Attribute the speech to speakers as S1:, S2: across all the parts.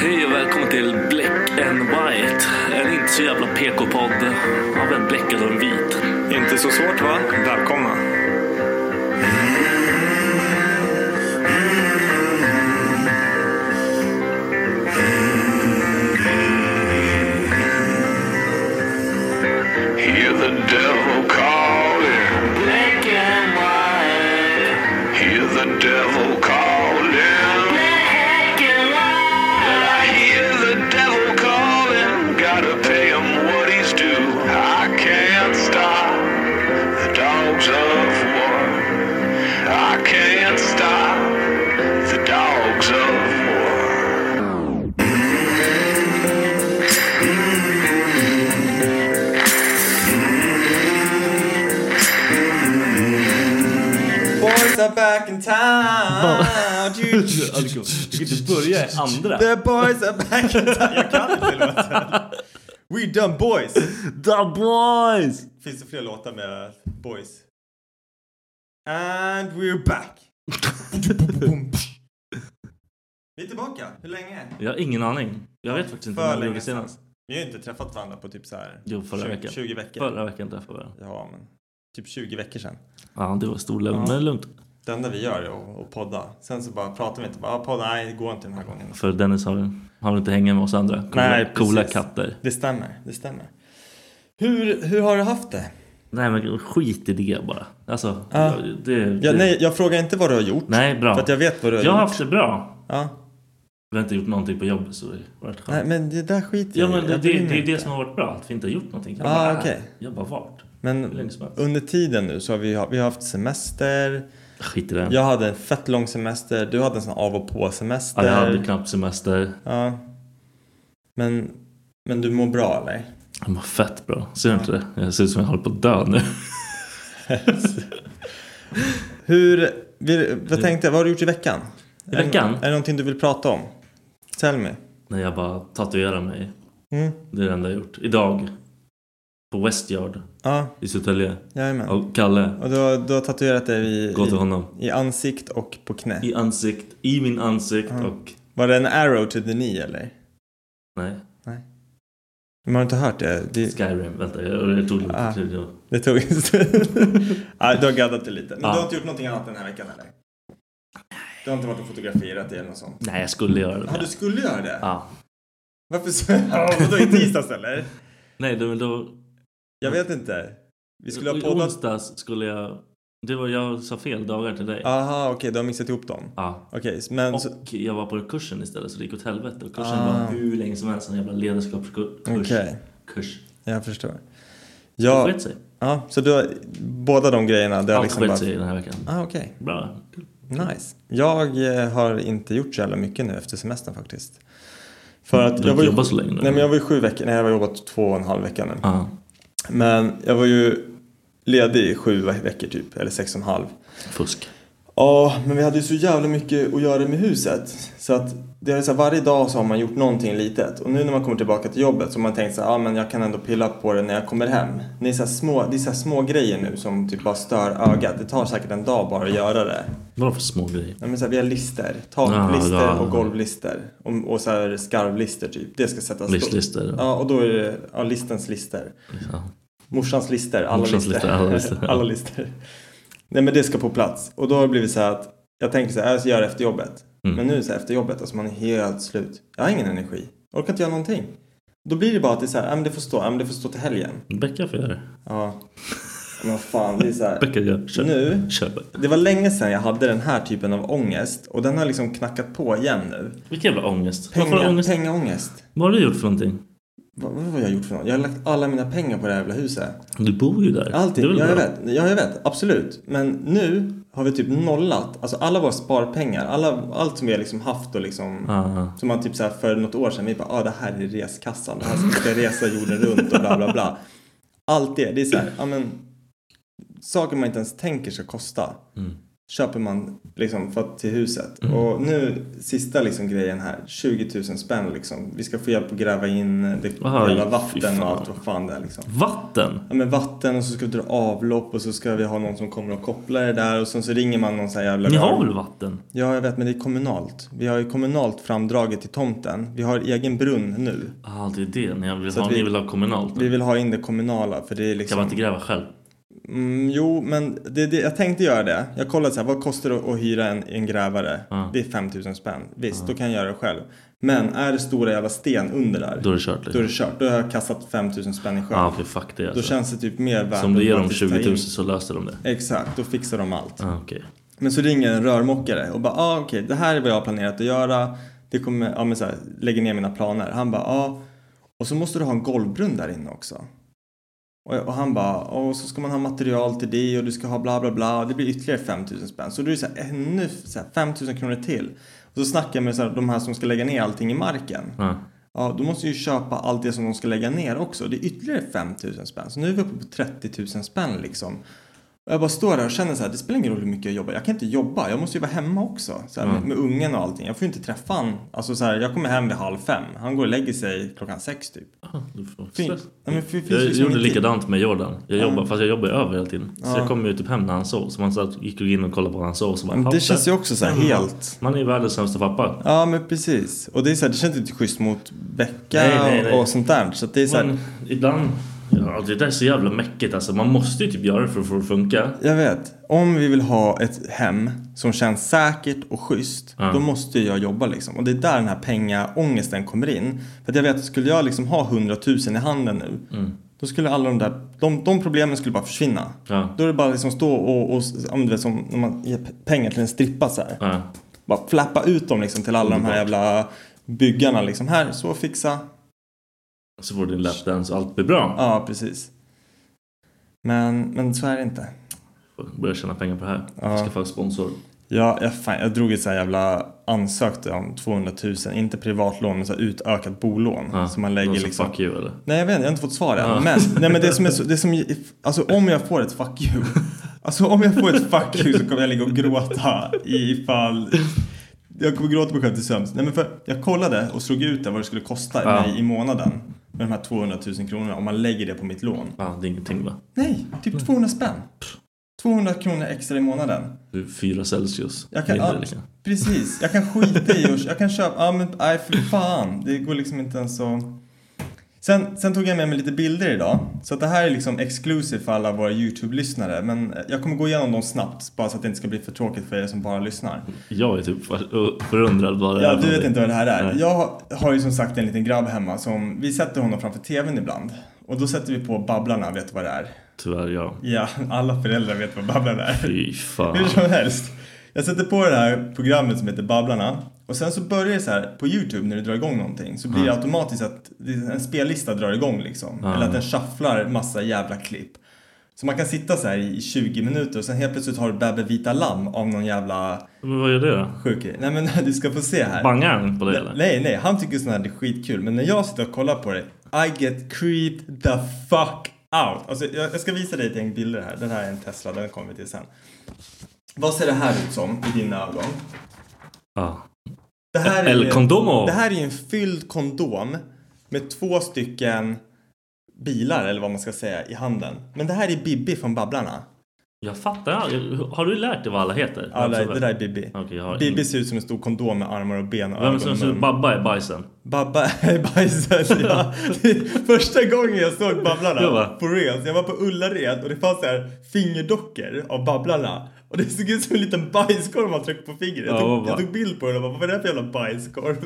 S1: Hej och välkommen till Black and White. En inte så jävla PK-podd av en bläckad och en vit.
S2: Inte så svårt va? Välkomna.
S3: Hear the devil calling. Black and white. Hear the devil calling. Black and white. I hear the devil calling. Gotta pay him what he's due. I can't stop the dogs of war. I can't stop the dogs of war.
S4: Boys are back in town.
S1: Du kan inte börja i andra.
S4: The boys are back in town. Jag kan inte till låten. We done boys.
S1: The boys!
S4: Finns det fler låtar med boys? And we're back. Vi är tillbaka. Hur länge?
S1: Jag har ingen aning. Jag vet faktiskt inte
S4: För
S1: vi
S4: länge
S1: gjorde
S4: sedan.
S1: senast.
S4: Vi har inte träffat varandra på typ så här
S1: Jo, förra
S4: 20,
S1: veckan.
S4: 20 veckor.
S1: Förra veckan träffade vi varandra.
S4: Ja, men typ 20 veckor sedan.
S1: Ja, det var stor lugn, men lugnt.
S4: Det enda vi gör är att- att podda. Sen så bara pratar vi inte. Bara, ah, podda, nej, det går inte den här gången.
S1: För Dennis har, han vill inte hänga med oss andra. Coola,
S4: Nej, precis.
S1: coola katter.
S4: Det stämmer, det stämmer. Hur, hur har du haft det?
S1: Nej, men skit i det bara. Alltså,
S4: Ja.
S1: det, det...
S4: Ja, nej, jag frågar inte vad du har gjort.
S1: Nej, bra.
S4: För att jag vet vad du har
S1: Jag har
S4: gjort.
S1: haft det bra.
S4: Ja.
S1: Vi har inte gjort någonting på jobbet så det har varit skönt.
S4: Nej, men det där skiter
S1: Ja
S4: jag i.
S1: men det,
S4: Jag
S1: det,
S4: bryr
S1: det
S4: mig
S1: är det
S4: inte.
S1: som har varit bra, att vi inte har gjort någonting. Jag
S4: Ah,
S1: bara,
S4: okej.
S1: Jag bara vart?
S4: Men
S1: länge som helst.
S4: under tiden nu så har vi, vi har haft semester.
S1: Skit i det.
S4: Jag hade en fett lång semester. Du hade en sån av och på
S1: Ja,
S4: semester.
S1: jag hade knappt semester.
S4: Ja. Men, men du mår bra eller?
S1: Jag mår fett bra. Ser du inte det? Jag ser ut som jag håller på att dö nu.
S4: Hur, vi, vad tänkte jag, vad har du gjort i veckan? I
S1: veckan?
S4: Är, det någonting du vill prata om? Tell me.
S1: När jag bara tatuerar mig.
S4: Mm.
S1: Det är det enda jag gjort. Idag. På Westyard
S4: Ja,
S1: i Södertälje.
S4: jajamän.
S1: Och Kalle,
S4: Och du har, du har tatuerat dig i,
S1: Oh. gå till
S4: i,
S1: honom.
S4: i ansikt och på knä.
S1: I ansikt, i min ansikt och...
S4: Var det en arrow to the knee eller?
S1: Nej,
S4: Men har du inte hört det? Det,
S1: Skyrim. Vänta, jag, jag tog lite...
S4: Ah.
S1: jag-
S4: det tog en stund. Nej, du har gaddat det lite. Men
S1: Ja.
S4: du har inte gjort någonting annat den här veckan eller? Du har inte varit och fotograferat det eller något sånt?
S1: Nej, jag skulle göra det.
S4: Ja, du skulle göra det?
S1: Ja.
S4: Varför så? Ja, vadå i tisdags eller?
S1: Nej, det var då...
S4: Jag vet inte. Vi skulle ha
S1: I
S4: poddat...
S1: onsdags skulle jag... Det var, jag sa fel dagar till dig.
S4: Aha, okej, du har mixat ihop dem.
S1: Ja.
S4: Okej, men... Så...
S1: Och jag var på kursen istället så det gick åt helvete. Och kursen
S4: Ah.
S1: var hur länge som helst, en jävla ledarskapskurs.
S4: Okej,
S1: Kurs.
S4: jag förstår.
S1: Ja. Det
S4: Ja,
S1: sket sig.
S4: ja, så du har... Båda de grejerna, det har
S1: Allt
S4: liksom
S1: sket
S4: bara...
S1: sig den här veckan.
S4: Ah, okej.
S1: Bra.
S4: Nice. Jag eh, har inte gjort så jävla mycket nu efter semestern faktiskt. För att
S1: Du har
S4: jag
S1: inte
S4: var ju,
S1: jobbat så länge nu?
S4: Nej men jag var ju sju veckor, nej jag har jobbat två och en halv vecka nu.
S1: Ja.
S4: Men jag var ju ledig i sju ve- veckor typ, eller sex och en halv.
S1: Fusk.
S4: Ja, men vi hade ju så jävla mycket att göra med huset. Så att det är så här, varje dag så har man gjort någonting litet. Och nu när man kommer tillbaka till jobbet så har man tänkt så här, ah, men jag kan ändå pilla på det när jag kommer hem. Det är så här små, det är så här små grejer nu som typ bara stör ögat. Det tar säkert en dag bara att göra det.
S1: Vadå för små grejer?
S4: Nej, men så här, vi har lister,
S1: Ja,
S4: taklister
S1: ja.
S4: och golvlister. Och, och så här skarvlister typ. Det ska sättas
S1: Listlister.
S4: Ja, och då är det ja, listens lister.
S1: Ja.
S4: Morsans lister, alla
S1: Morsans
S4: lister.
S1: lister, alla lister, ja.
S4: alla lister. Nej men det ska på plats. Och då har det blivit så här att jag tänker så här, jag ska göra det efter jobbet.
S1: Mm.
S4: Men nu så här, efter jobbet, alltså man är helt slut. Jag har ingen energi. Jag orkar inte göra någonting. Då blir det bara att det är så här, ja men det får stå, ja men det får stå till helgen.
S1: Becka får göra det.
S4: Ja. Men vad fan, det är så här.
S1: Becka gör kör.
S4: Nu?
S1: Kör Becka.
S4: Det var länge sedan jag hade den här typen av ångest. Och den har liksom knackat på igen nu.
S1: Vilken jävla ångest. Varför har du
S4: Penga,
S1: ångest?
S4: pengaångest.
S1: Vad har du gjort för någonting?
S4: Vad, vad har jag gjort för något? Jag har lagt alla mina pengar på det här jävla huset.
S1: Du bor ju där.
S4: Allting,
S1: Det är väl
S4: ja, jag
S1: bra?
S4: vet, ja jag vet, absolut. Men nu har vi typ nollat, alltså alla våra sparpengar, alla, allt som vi har liksom haft och liksom
S1: Ja,
S4: som man typ så här för något år sedan, vi bara ah, det här är reskassan, det här ska vi ska resa jorden runt och bla bla bla. Allt det, det är så här, ja men saker man inte ens tänker ska kosta
S1: Mm.
S4: köper man liksom för att, till huset. Och nu sista liksom grejen här, 20 000 spänn liksom. Vi ska få hjälp att gräva in det
S1: Aha,
S4: jävla
S1: fy
S4: vatten
S1: fan.
S4: och allt vad fan det är liksom.
S1: Vatten?
S4: Ja, men vatten och så ska vi dra avlopp och så ska vi ha någon som kommer och kopplar det där och sen så ringer man någon sån här jävla...
S1: Ni har väl vatten?
S4: Ja, jag vet men det är kommunalt. Vi har ju kommunalt framdraget till tomten. Vi har egen brunn nu.
S1: Ja, ah, det är det. Ni vill,
S4: Så att
S1: ha,
S4: vi-
S1: ni vill ha kommunalt?
S4: Vi vill ha in det kommunala för det är
S1: Kan man
S4: liksom...
S1: inte gräva själv?
S4: Mm, jo, men det, det, jag tänkte göra det. Jag kollade så här, vad kostar det att hyra en, en grävare? Det är 5000 spänn. Visst, då kan jag göra det själv. Men är det stora jävla sten under där,
S1: Mm. Då är det kört.
S4: då är
S1: Liksom.
S4: det kört. Då har jag kastat 5000 spänn i sjön.
S1: Ja, ah, för fuck det
S4: Då
S1: alltså.
S4: känns det typ mer värt
S1: Så om du
S4: att
S1: ger dem
S4: faktiskt ta
S1: 20 000
S4: in-
S1: så löser de det?
S4: Exakt, då fixar de allt.
S1: Ah, Okej.
S4: Men så ringer en rörmokare och bara ah, okej det här är vad jag har planerat att göra. Det kommer, ja men så här, lägger ner mina planer. Han bara ah. Och så måste du ha en golvbrunn där inne också. Och, och han bara och så ska man ha material till det och du ska ha bla bla bla. Det blir ytterligare 5000 spänn. Så då är det så här, ännu så här, 5000 kronor till. Och så snackar jag med så här, de här som ska lägga ner allting i marken.
S1: Ja.
S4: Ja, då måste jag ju köpa allt det som de ska lägga ner också. Det är ytterligare 5 000 spänn. Så nu är vi uppe på 30 000 spänn liksom. Och jag bara står där och känner så här, det spelar ingen roll hur mycket jag jobbar. Jag kan inte jobba, jag måste ju vara hemma också. Så här, med, med ungen och allting. Jag får ju inte träffa han. Alltså så här, jag kommer hem vid halv fem. Han går och lägger sig klockan sex typ.
S1: Ah, du får
S4: Fin-
S1: stress.
S4: Ja, men fin- finns
S1: jag
S4: liksom
S1: gjorde
S4: inte-
S1: likadant med Jordan. Jag jobbar, Fast jag jobbar ju över hela tiden. Så jag kom ju typ hem när han sov. Så man så här, gick in och kollade på när han sov. Så bara,
S4: Men
S1: "Ja,
S4: Mm, det känns ju också så här
S1: Mm.
S4: helt...
S1: Man är ju världens sämsta pappa.
S4: Ja men precis. Och det är så här, det känns inte schysst mot Becka
S1: Nej, nej, nej.
S4: och sånt där. Så att det är så här,
S1: Men ibland... Ja, alltså, det där är så jävla mäckigt alltså. Man måste ju typ göra det för att få det att funka.
S4: Jag vet. Om vi vill ha ett hem som känns säkert och schysst, då måste jag jobba liksom. Och det är där den här pengaångesten kommer in. För att jag vet att skulle jag liksom ha 100 000 i handen nu, då skulle alla de där, de, de problemen skulle bara försvinna.
S1: Ja.
S4: Då är det bara liksom stå och, och ja, men du vet, som när man ger pengar till en strippa så här.
S1: Ja.
S4: Bara flappa ut dem liksom till alla de här jävla byggarna liksom. Här, så fixa.
S1: Så får du din lapdance och allt blir bra.
S4: Ja, precis. Men, men så är det inte.
S1: Börjar tjäna pengar på det här. Skaffa sponsor.
S4: Ja, jag, fan, jag drog ett så här jävla ansökte om 200 000, inte privatlån men så här utökat bolån.
S1: Ja,
S4: som man lägger
S1: någon som
S4: liksom.
S1: Fuck you eller?
S4: Nej jag vet inte, jag har inte fått svar än. Men, nej, men det som är så, det som, är- alltså om jag får ett fuck you. Alltså om jag får ett fuck you så kommer jag ligga och gråta ifall jag kommer gråta mig själv till sömns. Nej men för jag kollade och slog ut det, vad det skulle kosta
S1: Ja.
S4: mig i månaden. Med de här 200 000 kronorna om man lägger det på mitt lån.
S1: Ja, det är ingenting va?
S4: Nej, typ 200 spänn. 200 kronor extra i månaden.
S1: Du är fyra Celsius.
S4: Jag kan,
S1: mindre,
S4: ja,
S1: liksom.
S4: Precis, jag kan skita i och jag kan köpa, ja men nej för fan, det går liksom inte ens att... Sen, sen tog jag med mig lite bilder idag, så att det här är liksom exclusive för alla våra YouTube-lyssnare. Men eh, jag kommer gå igenom dem snabbt, bara så att det inte ska bli för tråkigt för er som bara lyssnar.
S1: Jag är typ förundrad vad det
S4: Ja,
S1: är
S4: du
S1: för
S4: vet inte vad det här är.
S1: Nej.
S4: Jag har- har ju som sagt en liten grabb hemma som, vi sätter honom framför TVn ibland. Och då sätter vi på Babblarna, vet du vad det är?
S1: Tyvärr ja.
S4: Ja, alla föräldrar vet vad Babblarna är.
S1: Fy
S4: Hur
S1: fan.
S4: som helst. Jag sätter på det här programmet som heter Babblarna. Och sen så börjar det så här, på YouTube när du drar igång någonting så blir det automatiskt att det- en spellista drar igång liksom. Eller att den shufflar massa jävla klipp. Så man kan sitta så här i 20 minuter och sen helt plötsligt har du Babbe Vita Lamm av någon jävla
S1: Men vad gör det då?
S4: sjuk grej. Nej men du ska få se här.
S1: Bangar han på dig eller?
S4: Nej, nej, han tycker sånt här är skitkul. Men när jag sitter och kollar på det, I get creeped the fuck out. Alltså, jag, jag ska visa dig ett gäng bilder här. Den här är en Tesla, den kommer vi till sen. Vad ser det här ut som i dina ögon?
S1: Ja.
S4: Det här är
S1: El
S4: ju-
S1: condomo.
S4: Det här är ju en fylld kondom med två stycken bilar eller vad man ska säga i handen. Men det här är Bibi från Babblarna.
S1: Jag fattar aldrig. Har du lärt dig vad alla heter?
S4: Ja, det, det där är Bibi.
S1: Okej, jag har
S4: Bibi
S1: ingen-
S4: ser ut som en stor kondom med armar och ben och
S1: Vem är
S4: ögon
S1: som
S4: och
S1: ser
S4: mun.
S1: Babba är bajsen?
S4: Babba är bajset, ja. Det är Första gången jag såg
S1: Jag
S4: Babblarna
S1: bara-
S4: på Reels, jag var på Ullared och det fanns så här fingerdockor av Babblarna. Och det såg ut som en liten bajskorv man tryckte på fingret. Jag
S1: Ja,
S4: tog,
S1: vad
S4: jag
S1: bra.
S4: tog bild på den och bara, vad är det här för jävla bajskorv?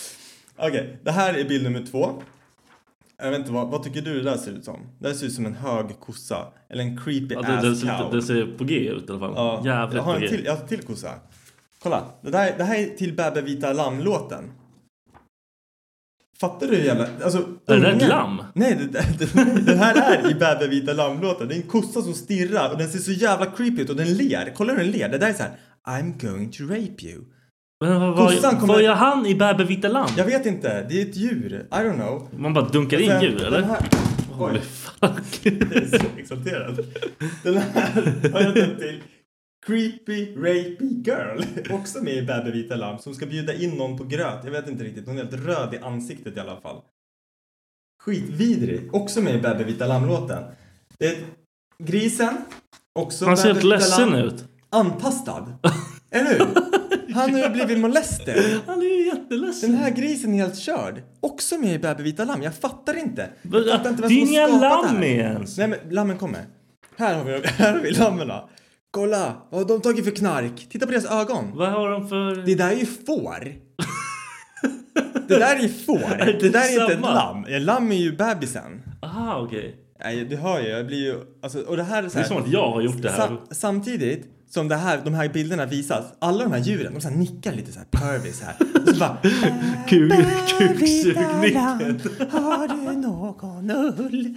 S4: Okej, det här är bild nummer två. Jag vet inte, vad, vad tycker du det där ser ut som? Det här ser ut som en hög kossa. Eller en creepy
S1: Ja, det,
S4: ass cow.
S1: det, ser lite, det ser på G ut i alla fall.
S4: Ja,
S1: Jävligt
S4: jag har
S1: på G.
S4: en till, jag har en till kossa. Kolla, det, där, det här är till Bäbe vita lamm-låten. Fattar du hur jävla... Alltså,
S1: Är det där
S4: unga-
S1: ett lamm?
S4: Nej, det, det, det, det här är i Bäbe vita lamm-låten. Det är en kossa som stirrar och den ser så jävla creepy ut och den ler. Kolla hur den ler. Det där är så här, I'm going to rape you.
S1: Men vad, vad,
S4: Kossan kommer-
S1: vad gör han i Bäbe vita lamm?
S4: Jag vet inte, det är ett djur. I don't know.
S1: Man bara dunkar in
S4: Sen-
S1: djur eller?
S4: Alltså, Den här...
S1: Holy
S4: Oj,
S1: fuck.
S4: jag är så exalterad. Den här har jag döpt till Creepy Rapey Girl. Också med i Bäbe Vita Lamm som ska bjuda in någon på gröt. Jag vet inte riktigt, hon är helt röd i ansiktet i alla fall. Skitvidrig. Också med i Bäbe Vita Lamm-låten. Det är grisen. Också
S1: Han ser
S4: Bäbe
S1: helt
S4: Vita
S1: ledsen
S4: Lamm.
S1: ut.
S4: Antastad. Eller hur? Han har ju blivit molester.
S1: Han är ju jätteledsen.
S4: Den här grisen är helt körd. Också med i Bäbe Vita Lamm. Jag fattar inte.
S1: Men,
S4: Jag fattar inte
S1: det är
S4: som har
S1: inga
S4: skapat det här.
S1: lamm ens.
S4: Nej men lammen kommer. Här har vi, här har vi lammen. då. Kolla, vad har de tagit för knark? Titta på deras ögon.
S1: Vad har de för...
S4: Det där är ju får. Det där är ju får.
S1: det
S4: Det där är inte ett
S1: samma?
S4: lamm. Ja, lamm är ju bebisen.
S1: Aha, okej.
S4: Nej, du hör ju, jag blir ju... Alltså, och det här är så
S1: Det är
S4: här,
S1: som att jag har gjort det här.
S4: Sa- samtidigt som det här, de här bilderna visas, alla de här djuren, de så här nickar lite så här pervis här. Och så bara...
S1: Kuk-
S4: Bävitaland, Har du någon ull?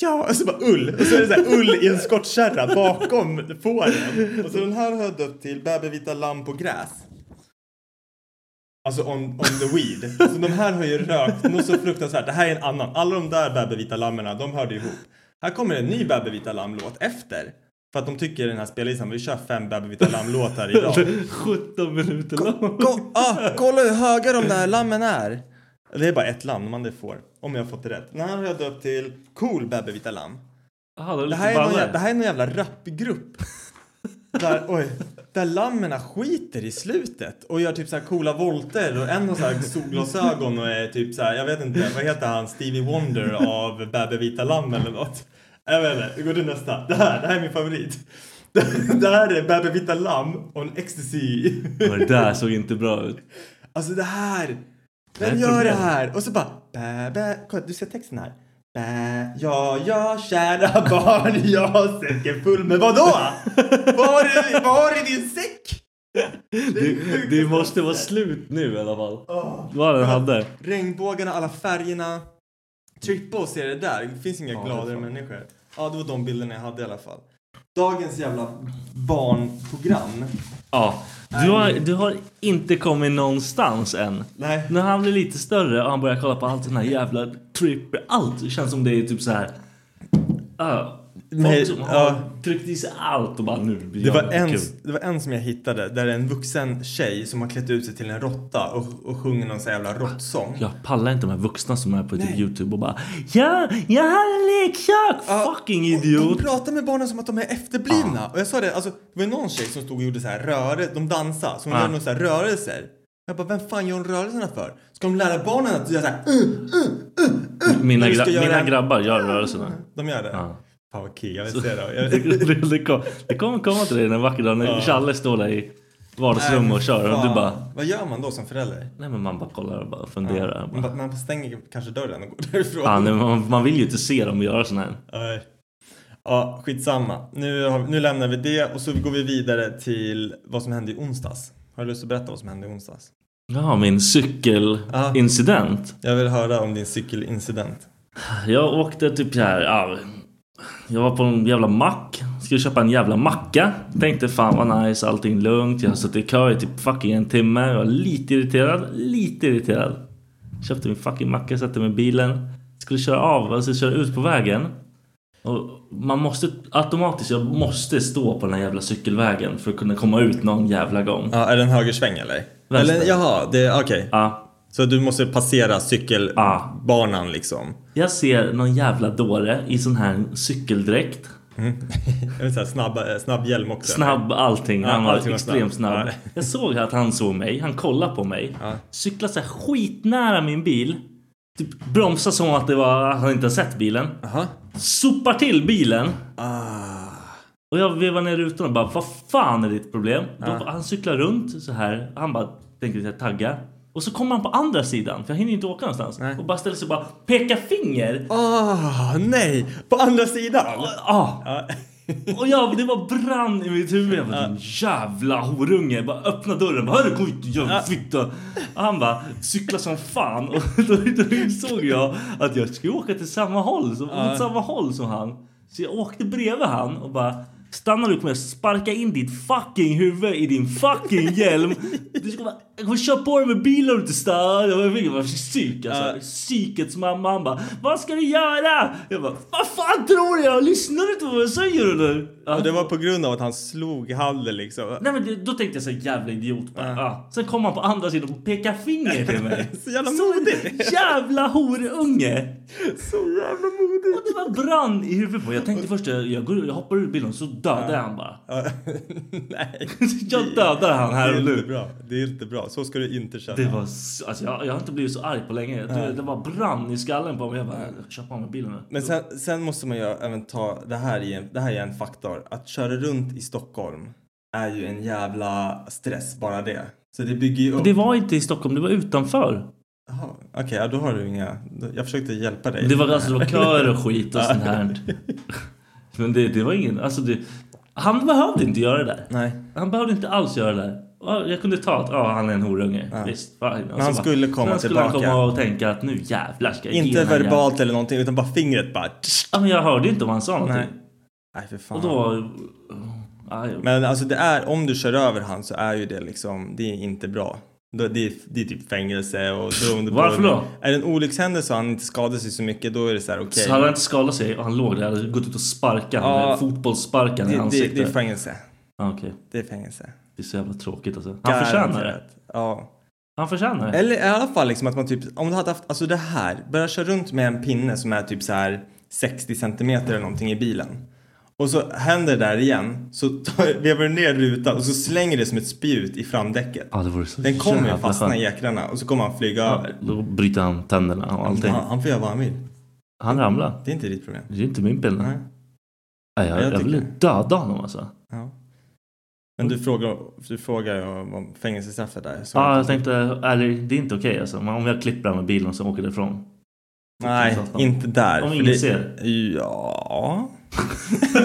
S4: Ja, och så bara ull. Och så är det så här ull i en skottkärra bakom fåren. Och så den här har jag döpt till Bävervita lamm på gräs. Alltså on, on the weed. Alltså de här har ju rökt något så fruktansvärt. Det här är en annan. Alla de där Bäbervita lammerna, de hörde ihop. Här kommer en ny Bäbervita lamm-låt efter. För att de tycker i den här spellistan, vi kör fem Bäbervita lamm-låtar idag.
S1: 17 minuter lång.
S4: Ko- ah, kolla hur höga de där lammen är. Det är bara ett lamm, men det får. Om jag har fått det rätt. Den här har jag döpt till Cool Bäbervita lamm.
S1: Aha, det,
S4: Det här, är någon, jä- det här är någon jävla rapgrupp. Där, oj, där lammerna skiter i slutet och gör typ så här coola volter och en har så här solglasögon och är typ så här, jag vet inte, vad heter han, Stevie Wonder av Bäbe Vita Lamm eller något. Jag vet inte, vi går till nästa. Det här, det här är min favorit. Det här är Bäbe Vita Lamm och en ecstasy.
S1: det där såg inte bra ut.
S4: Alltså det här!
S1: är
S4: Vem
S1: ett
S4: gör det
S1: problem.
S4: här? Och så bara... Bä, bä, kolla, du ser texten här. Bä, ja, ja, kära barn, jag säcken full med vadå? vad har du vad har du i din säck?
S1: Det, det måste vara slut nu i alla fall. Vad den hade.
S4: Regnbågarna, alla färgerna. Trippa och se det där. Det finns inga gladare människor. Ja, det var de bilderna jag hade i alla fall. Dagens jävla barnprogram.
S1: Ja. Du har, du har inte kommit någonstans än.
S4: Nej.
S1: När han blir lite större och han börjar kolla på allt den här jävla tripp. Allt känns som det är typ så här. Uh,
S4: Nej,
S1: folk som
S4: ja.
S1: har tryckt i sig allt och bara nu blir
S4: Det
S1: jag
S4: var, en,
S1: kul.
S4: det var en som jag hittade där en vuxen tjej som har klätt ut sig till en råtta och, och sjunger någon sån här jävla råttsång.
S1: Jag pallar inte de här vuxna som är på typ Youtube och bara Ja, jag har en leksak!
S4: Ja,
S1: Fucking
S4: och
S1: idiot!
S4: De pratar med barnen som att de är efterblivna. Och jag sa det, alltså, det var ju någon tjej som stod och gjorde så här rörelser, de dansade, så hon
S1: Ah.
S4: gjorde några så här rörelser. Jag bara, vem fan gör hon rörelserna för? Ska de lära barnen att göra så här? "Uh,
S1: Mina,
S4: du ska
S1: gra-
S4: göra
S1: mina
S4: en-
S1: grabbar gör rörelserna.
S4: De gör det?
S1: Ja.
S4: Fan vad kul, jag vill se det. Jag-
S1: det, det, kom, det kommer komma till dig en vacker dag när Challe står där i vardagsrummet och kör och du
S4: Fan,
S1: bara
S4: Vad gör man då som förälder?
S1: Nej men man bara kollar och bara funderar.
S4: Man,
S1: Bara,
S4: bara- man stänger kanske dörren och går därifrån.
S1: "Fan, nej, man, man vill ju inte se dem göra såna här.
S4: Nej. Ja, skitsamma. Nu, har, nu lämnar vi det och så går vi vidare till vad som hände i onsdags. Har du lust att berätta vad som hände i onsdags?
S1: Ja, min cykelincident.
S4: Jag vill höra om din cykelincident.
S1: Jag åkte typ så här. Ja, jag var på en jävla mack. Skulle köpa en jävla macka. Tänkte fan vad nice, allting lugnt. Jag har suttit i kö i typ fucking en timme. Jag var lite irriterad. Lite irriterad. Köpte min fucking macka, satte mig i bilen. Skulle köra av, alltså köra ut på vägen. Och man måste automatiskt, jag måste stå på den här jävla cykelvägen för att kunna komma ut någon jävla gång.
S4: Ja, är det en högersväng eller?
S1: Vänster.
S4: Eller jaha, det är okej.
S1: Ja.
S4: Så du måste passera cykelbanan liksom?
S1: Jag ser någon jävla dåre i sån här cykeldräkt.
S4: Mm. Jag vill säga snabb, eh, snabb hjälm också.
S1: Snabb allting.
S4: Ja,
S1: Han var
S4: allting var snabb.
S1: extremt snabb.
S4: Ja.
S1: Jag såg att han såg mig. Han kollade på mig.
S4: Ja.
S1: Cyklade så här skitnära min bil. Typ bromsade som att det var, att han inte har sett bilen.
S4: Aha.
S1: Sopar till bilen.
S4: Ah.
S1: Och jag vevar ner rutan och bara, vad fan är ditt problem? Då, han cyklar runt så här. Han bara tänker så här, tagga. Och så kommer han på andra sidan, för jag hinner ju inte åka någonstans. Och bara ställer sig och bara pekar finger.
S4: Ah, nej! På andra sidan!
S1: Ah. Och jag, det var brann i mitt huvud. Jag bara, din jävla horunge. Jag bara öppna dörren. Bara, Hörru, kom hit din jävla fitta. Och han bara, cykla som fan. Och då, då insåg jag att jag skulle åka till samma håll, som, åt samma håll som han. Så jag åkte bredvid han och bara, stannar du kommer jag sparka in ditt fucking huvud i din fucking hjälm. Du ska bara, jag kommer köra på dig med bilen om du inte stannar. Jag fick- jag var psyk alltså. Psykets mamma. Han bara, vad ska du göra? Jag bara, vad fan tror du? Jag lyssnar du inte på vad jag säger eller? Ja.
S4: Och Ah, det var på grund av att han slog handen liksom.
S1: Nej men det- då tänkte jag så här, jävla idiot bara. Ja. Sen kom han på andra sidan och pekade finger till mig.
S4: Så jävla modig!
S1: jävla horunge!
S4: Så jävla modig!
S1: Och det var brann i huvudet på. Jag tänkte först jag, jag, går, jag hoppar ur bilen så dödar jag han bara.
S4: nej.
S1: Jag dödar han här och
S4: Det
S1: nu.
S4: är inte bra. Det är inte bra. Så ska du inte känna.
S1: Det var, s- alltså jag, jag har inte blivit så arg på länge. Det, det var brann i skallen på mig. Jag bara, jag köper av mig bilen nu.
S4: Men sen, sen måste man ju även ta, det här, är en, det här är en faktor. Att köra runt i Stockholm är ju en jävla stress bara det. Så det bygger ju upp.
S1: Det var inte i Stockholm, det var utanför.
S4: Jaha, Okej, ja, då har du inga. Jag försökte hjälpa dig.
S1: Det var, alltså, det var köer och skit och sånt här. Men det, det var ingen... Alltså det, han behövde inte göra det där.
S4: Nej.
S1: Han behövde inte alls göra det där. Ja, Jag kunde ta att ja, han är en horunge. Visst. fine. Alltså,
S4: han
S1: bara-
S4: skulle komma
S1: sen skulle han
S4: tillbaka.
S1: komma och tänka att nu jävlar ska jag ge
S4: Inte
S1: den här jäveln.
S4: verbalt eller någonting utan bara fingret bara.
S1: Ja, men jag hörde inte vad han sa någonting.
S4: Nej. Nej för fan.
S1: Och då... Ja, jag-
S4: Men alltså det är, om du kör över han så är ju det liksom, det är inte bra. Då- Det är, det är typ fängelse och beroende på-
S1: Varför då?
S4: Är det en olyckshändelse och han inte skadar sig så mycket då är det så här okej.
S1: Så hade han inte skadat sig och han låg där, jag hade gått ut och sparkat
S4: Ja.
S1: honom. Fotbollssparkar i
S4: det, det,
S1: ansiktet.
S4: det är fängelse.
S1: Ja, Okej,
S4: Det är fängelse.
S1: det är så jävla tråkigt alltså. Han förtjänar det.
S4: Garanterat. Ja.
S1: Han förtjänar det.
S4: Eller i alla fall liksom att man typ, om du hade haft, alltså det här, börja köra runt med en pinne som är typ så här 60 centimeter eller någonting i bilen. Och så händer det där igen, så tar- vevar du ner rutan och så slänger det som ett spjut i framdäcket.
S1: Ja, det vore så
S4: Den kommer ju
S1: jävla
S4: fastna i
S1: skönt.
S4: jäkrarna och så kommer han flyga över.
S1: Då bryter han tänderna och allting.
S4: Han, han får göra vad han vill.
S1: Han ramlar.
S4: Det är inte ditt problem.
S1: Det är inte min bild.
S4: Nej.
S1: Nej. Jag,
S4: Jag
S1: jag,
S4: tycker-
S1: ville döda honom alltså.
S4: Ja. Men du frågar, du frågar ju om om fängelsestraffet där. Så
S1: Ja, jag tänkte, eller det är inte okej alltså. Men om jag klipper honom med bilen så åker därifrån.
S4: Nej, inte där.
S1: Om
S4: för
S1: ingen
S4: det-
S1: ser.
S4: Ja.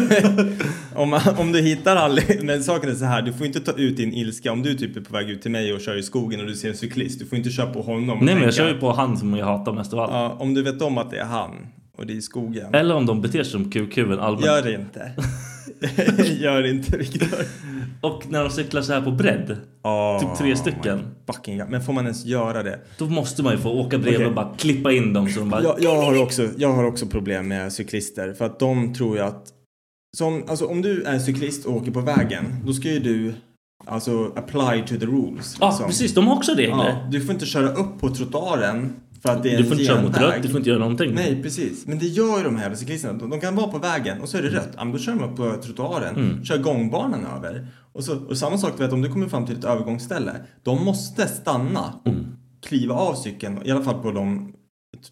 S4: om, om du hittar aldrig... Men saken är så här, du får inte ta ut din ilska. Om du typ är på väg ut till mig och kör i skogen och du ser en cyklist, du får inte köra på honom. och
S1: Nej, men jag
S4: tänka,
S1: kör ju på han som jag hatar mest av allt.
S4: Ja, om du vet om att det är han och det är i skogen.
S1: Eller om de beter sig som QQ'n allmänt.
S4: Gör det inte. Gör det inte, Viktor.
S1: Och när de cyklar så här på bredd, typ tre stycken.
S4: Fucking God. Men får man ens göra det?
S1: Då måste man ju få åka bredvid
S4: Okej.
S1: och bara klippa in dem så de bara...
S4: Jag, jag, har också, jag har också problem med cyklister för att de tror ju att... Som, alltså, om du är cyklist och åker på vägen, då ska ju du alltså apply to the rules.
S1: Ja,
S4: liksom.
S1: precis. De har också regler.
S4: Ja, du får inte köra upp på trottoaren för att det är
S1: Du
S4: en
S1: får inte köra mot
S4: genväg.
S1: rött, du får inte göra någonting.
S4: Nej, precis. Men det gör ju de här cyklisterna. De, de kan vara på vägen och så är
S1: Mm.
S4: det rött. Ja, men då kör de upp på trottoaren, kör gångbanan över. Och, så, och samma sak, du vet, om du kommer fram till ett övergångsställe. De måste stanna och
S1: Mm.
S4: kliva av cykeln, i alla fall på de...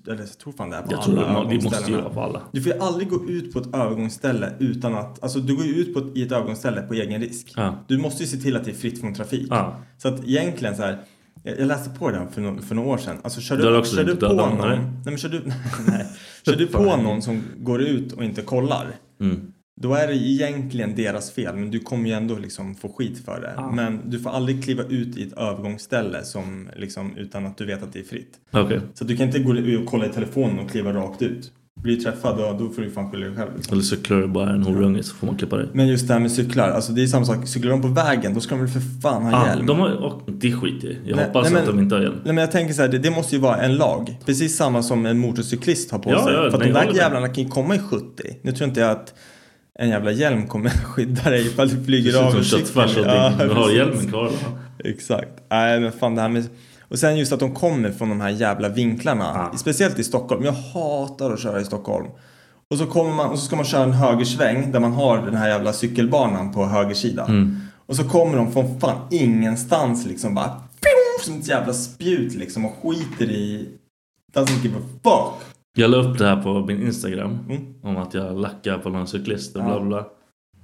S4: Eller jag tror fan det är på
S1: Jag tror
S4: alla
S1: det, må- det måste ju
S4: övergångsställena.
S1: vara på alla.
S4: Du får ju aldrig gå ut på ett övergångsställe utan att... Alltså du går ju ut på ett, i ett övergångsställe på egen risk.
S1: Ja.
S4: Du måste ju se till att det är fritt från trafik.
S1: Ja.
S4: Så att egentligen så här... Jag jag läste på det här för, no- för några år sedan. Alltså kör
S1: Du har
S4: du,
S1: också
S4: kör du
S1: inte
S4: på
S1: dödat
S4: någon...
S1: någon,
S4: Nej,
S1: eller?
S4: men kör du, nej, kör du på någon som går ut och inte kollar.
S1: Mm.
S4: Då är det egentligen deras fel. Men du kommer ju ändå liksom få skit för det. Men du får aldrig kliva ut i ett övergångsställe som liksom, utan att du vet att det är fritt.
S1: Okej.
S4: Så du kan inte gå och kolla i telefonen och kliva rakt ut. blir träffad då, då får du fan skylla dig själv. Liksom.
S1: Eller cyklar du bara en horunge så får man klippa dig.
S4: Men just det här med cyklar, alltså det är samma sak. Cyklar de på vägen då ska de väl för fan ha
S1: Ah,
S4: hjälm?
S1: de har, och, det skiter jag i. Jag
S4: Nej,
S1: hoppas
S4: nej,
S1: att
S4: men-
S1: de inte har hjälm.
S4: Nej men jag tänker så här, det, det måste ju vara en lag. Precis samma som en motorcyklist har på
S1: Ja,
S4: sig.
S1: ja,
S4: För att
S1: nej,
S4: de
S1: jag
S4: där
S1: håller med.
S4: jävlarna kan ju komma i 70. Nu tror inte jag att en jävla hjälm kommer skydda dig ifall du
S1: Det
S4: flyger
S1: ser ut
S4: av
S1: som
S4: ur
S1: köttfärs och
S4: Ja,
S1: allting. Du har
S4: precis.
S1: hjälmen kvar. då.
S4: Exakt. Nej men fan det här med... Och sen just att de kommer från de här jävla vinklarna. Speciellt i Stockholm. Jag hatar att köra i Stockholm. Och så kommer man och så ska man köra en högersväng där man har den här jävla cykelbanan på högersidan.
S1: Mm.
S4: Och så kommer de från fan ingenstans liksom bara pjong, som ett jävla spjut liksom och skiter i... Doesn't give a fuck.
S1: Jag la upp det här på min Instagram.
S4: Mm.
S1: Om att jag lackar på någon cyklist och
S4: Ja.
S1: bla bla.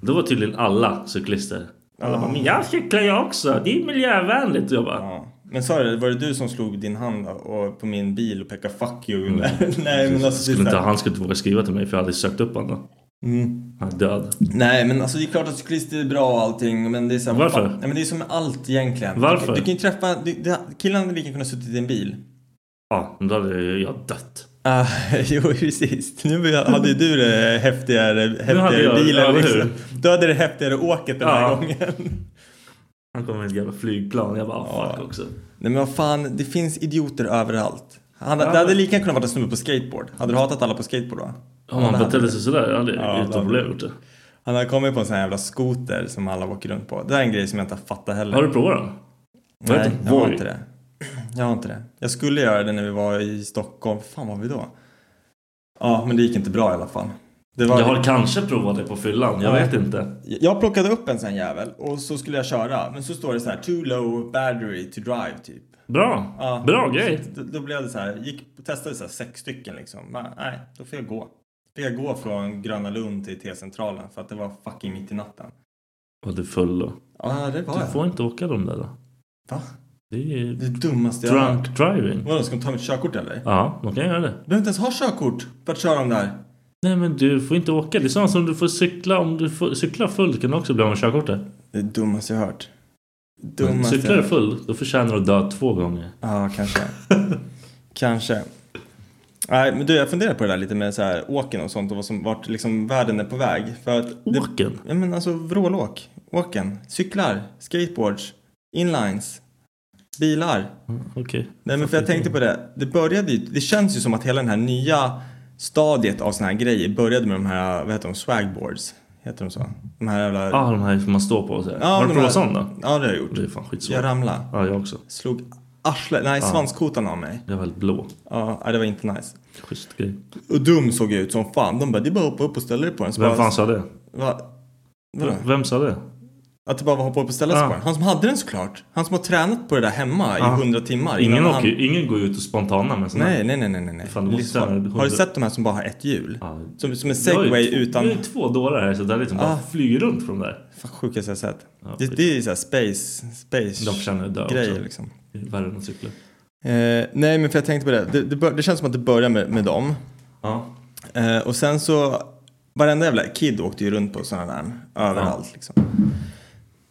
S1: Det var tydligen alla cyklister. Alla
S4: Ja.
S1: bara, men jag cyklar jag också. Det är miljövänligt. Och jag bara,
S4: Ja. Men sa du, var det du som slog din hand och, på min bil och pekade fuck you? Nej men alltså... det är
S1: Mm. skulle
S4: så
S1: inte,
S4: här-
S1: han skulle inte våga skriva till mig för jag hade sökt upp honom.
S4: Mm.
S1: Han är död.
S4: Nej, men alltså det är klart att cyklister är bra och allting. Men det är så här,
S1: Varför?
S4: fan- Nej, men det är som med allt egentligen.
S1: Varför?
S4: Du, du kan ju träffa... Du, du, killen hade lika gärna kunnat suttit i en bil.
S1: Ja, men då hade jag dött.
S4: Ah, jo, precis. Nu hade ju du det häftigare, häftigare
S1: jag-
S4: bilen.
S1: ja, eller hur?
S4: liksom. Du hade det häftigare åket den här
S1: Ja.
S4: gången.
S1: Han kom med ett jävla flygplan. Jag bara, ah, fuck också.
S4: Nej, men vad fan. Det finns idioter överallt. Han,
S1: Ja.
S4: Det hade lika gärna kunnat vara en snubbe på skateboard. Hade du hatat alla på skateboard då?
S1: Om han
S4: hade-
S1: betedde sig sådär, jag hade
S4: Ja, det
S1: utan
S4: hade-
S1: problem gjort det.
S4: Han hade kommit på en sån här jävla skoter som alla åker runt på. Det där är en grej som jag inte fattar heller.
S1: Har du provat den? Vad
S4: Nej,
S1: heter den?
S4: jag har
S1: Voi.
S4: inte det. Jag har inte det. Jag skulle göra det när vi var i Stockholm. Fan var vi då? Ja, men det gick inte bra i alla fall. Det var...
S1: Jag har kanske provat det på fyllan, jag
S4: Ja.
S1: vet inte.
S4: jag plockade upp en sån jävel och så skulle jag köra. Men så står det så här too low battery to drive typ.
S1: Bra!
S4: Ja.
S1: Bra grej!
S4: Så Då, då blev det så här. Gick, testade så här sex stycken liksom. Men, nej, då får jag gå. Fick jag gå från Gröna Lund till T-centralen för att det var fucking mitt i natten.
S1: Var du full då?
S4: Ja, det var
S1: Du
S4: jag.
S1: får inte åka de där då.
S4: Va?
S1: Det
S4: Det
S1: är
S4: dummaste jag har hört.
S1: drunk driving.
S4: Vadå, ska de ta mitt körkort eller?
S1: Ja, de kan göra det.
S4: Du behöver inte ens ha körkort för att köra de där.
S1: Nej men du får inte åka. Det är samma som du får cykla. Om du får cykla full kan du också bli av med körkortet.
S4: Det är dummaste jag hört.
S1: Men
S4: Dummaste
S1: Cyklar
S4: jag
S1: du
S4: hört.
S1: full, då förtjänar du att dö två gånger.
S4: Ja, kanske. kanske. Nej, men du, jag funderar på det där lite med så här åken och sånt och vad som, vart liksom världen är på väg. För att det,
S1: Åken?
S4: ja, men alltså vrålåk, åken, cyklar, skateboards, inlines, bilar.
S1: Okej.
S4: Nej, men för jag tänkte på det. Det började ju, det känns ju som att hela den här nya stadiet av såna här grejer började med de här, vad heter de, swagboards? Heter de så? De här jävla...
S1: Ah, de här som man står på och så här.
S4: Ja,
S1: Har
S4: de
S1: du provat
S4: här-
S1: sån då?
S4: Ja, det har jag gjort.
S1: Det är fan skitsvårt.
S4: Jag ramlade.
S1: Ja, jag också.
S4: Slog arslet, nej svanskotan av mig.
S1: Jag var helt blå.
S4: Ja, nej, det var inte nice.
S1: Schysst grej.
S4: Och dum såg jag ut som fan. De bara, det är bara att hoppa upp och ställa dig på den. Så
S1: Vem
S4: bara,
S1: fan sa det?
S4: Va? Vadå?
S1: Vem sa det?
S4: Att det bara var att hoppa upp och ställa sig
S1: Ja.
S4: på den. Han som hade den såklart. Han som har tränat på det där hemma
S1: Ja.
S4: i hundra timmar.
S1: Ah. Ingen,
S4: innan
S1: åker, ju- ingen går ju ut och spontana med sån
S4: Nej,
S1: här.
S4: nej, nej, nej, nej. nej.
S1: Fan, du måste
S4: Lyssna.
S1: träna hundra-
S4: Har du sett de här som bara har ett hjul?
S1: Ja.
S4: Som, som en
S1: Jag har ju
S4: segway
S1: två-
S4: utan...
S1: Jag har ju två dårar här så där liksom bara
S4: Ah.
S1: flyger runt från där.
S4: Fan, sjukaste jag sett.
S1: Ja,
S4: det, det är såhär space...
S1: De
S4: Space...
S1: förtjänar att dö
S4: Grejer
S1: också.
S4: liksom.
S1: Det är Värre än att cykla.
S4: Eh, nej, men för jag tänkte på det. Det, det, bör, det känns som att det börjar med, med dem.
S1: Ja.
S4: Eh, och sen så, varenda jävla kid åkte ju runt på sådana där överallt liksom.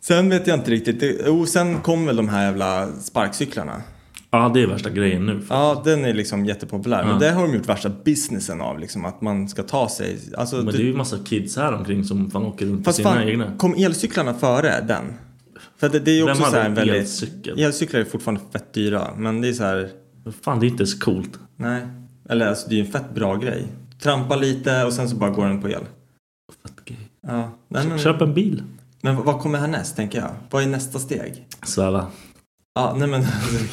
S4: Sen vet jag inte riktigt, det, jo sen kom väl de här jävla sparkcyklarna.
S1: Ja, ah, det är värsta grejen nu.
S4: Ja, den är liksom jättepopulär. Men
S1: Ja.
S4: det har de gjort värsta businessen av liksom, att man ska ta sig, alltså.
S1: Men det
S4: du-
S1: är ju massa kids här omkring som fan åker runt på
S4: fast
S1: sina
S4: fan,
S1: egna.
S4: kom elcyklarna före den? För det, det är ju
S1: Vem
S4: också
S1: hade
S4: såhär en
S1: en
S4: väldigt...
S1: elcykel?
S4: Elcyklar är fortfarande fett dyra, men det är så här.
S1: Fan, det är inte så coolt.
S4: nej. Eller alltså det är ju en fett bra grej. Trampa lite och sen så bara går den på el.
S1: Fett grej.
S4: Ja. Nej, men-
S1: Köp en bil.
S4: Men v- vad kommer härnäst tänker jag? Vad är nästa steg?
S1: Sväva.
S4: Ja, nej men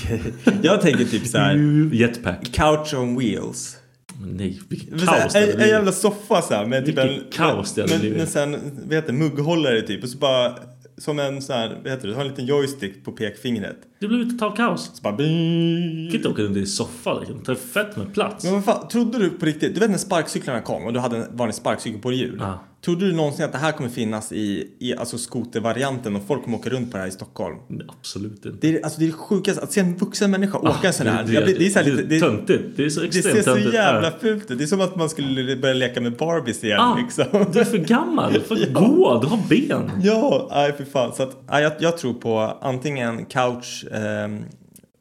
S4: okej. Jag tänker typ så här.
S1: Jetpack.
S4: Couch on wheels.
S1: Men nej, vilket
S4: Så här,
S1: kaos det hade
S4: en, en
S1: blivit.
S4: jävla soffa så här med typ
S1: Vilket
S4: en...
S1: kaos det hade
S4: men,
S1: blivit.
S4: men sen, vad heter det, mugghållare typ. Och så bara, som en så här, vad heter det, har en liten joystick på pekfingret.
S1: Det blev totalt kaos.
S4: Så bara... bing.
S1: Du kan inte åka runt i soffa liksom. Det är fett med plats.
S4: Men vad fan, trodde du på riktigt, du vet när sparkcyklarna kom och du hade en vanlig sparkcykel på hjul.
S1: Ja.
S4: Trodde du någonsin att det här kommer finnas i, i alltså skotervarianten och folk kommer åka runt på det här i Stockholm?
S1: Nej, Absolut inte.
S4: Det är, alltså, det är det sjukaste, att se en vuxen människa åka en sån här.
S1: Det,
S4: Jag
S1: Ah, det,
S4: blir- det är så här lite,
S1: det är
S4: det,
S1: töntigt. Det är så
S4: det
S1: extremt
S4: ser så
S1: töntigt.
S4: jävla
S1: Ja.
S4: fult ut. Det är som att man skulle börja leka med Barbies igen
S1: Ah,
S4: liksom.
S1: Du är för gammal. Du får gå. Du har ben.
S4: Ja, nej för fan. Så att, nej, jag, jag tror på antingen couch eh,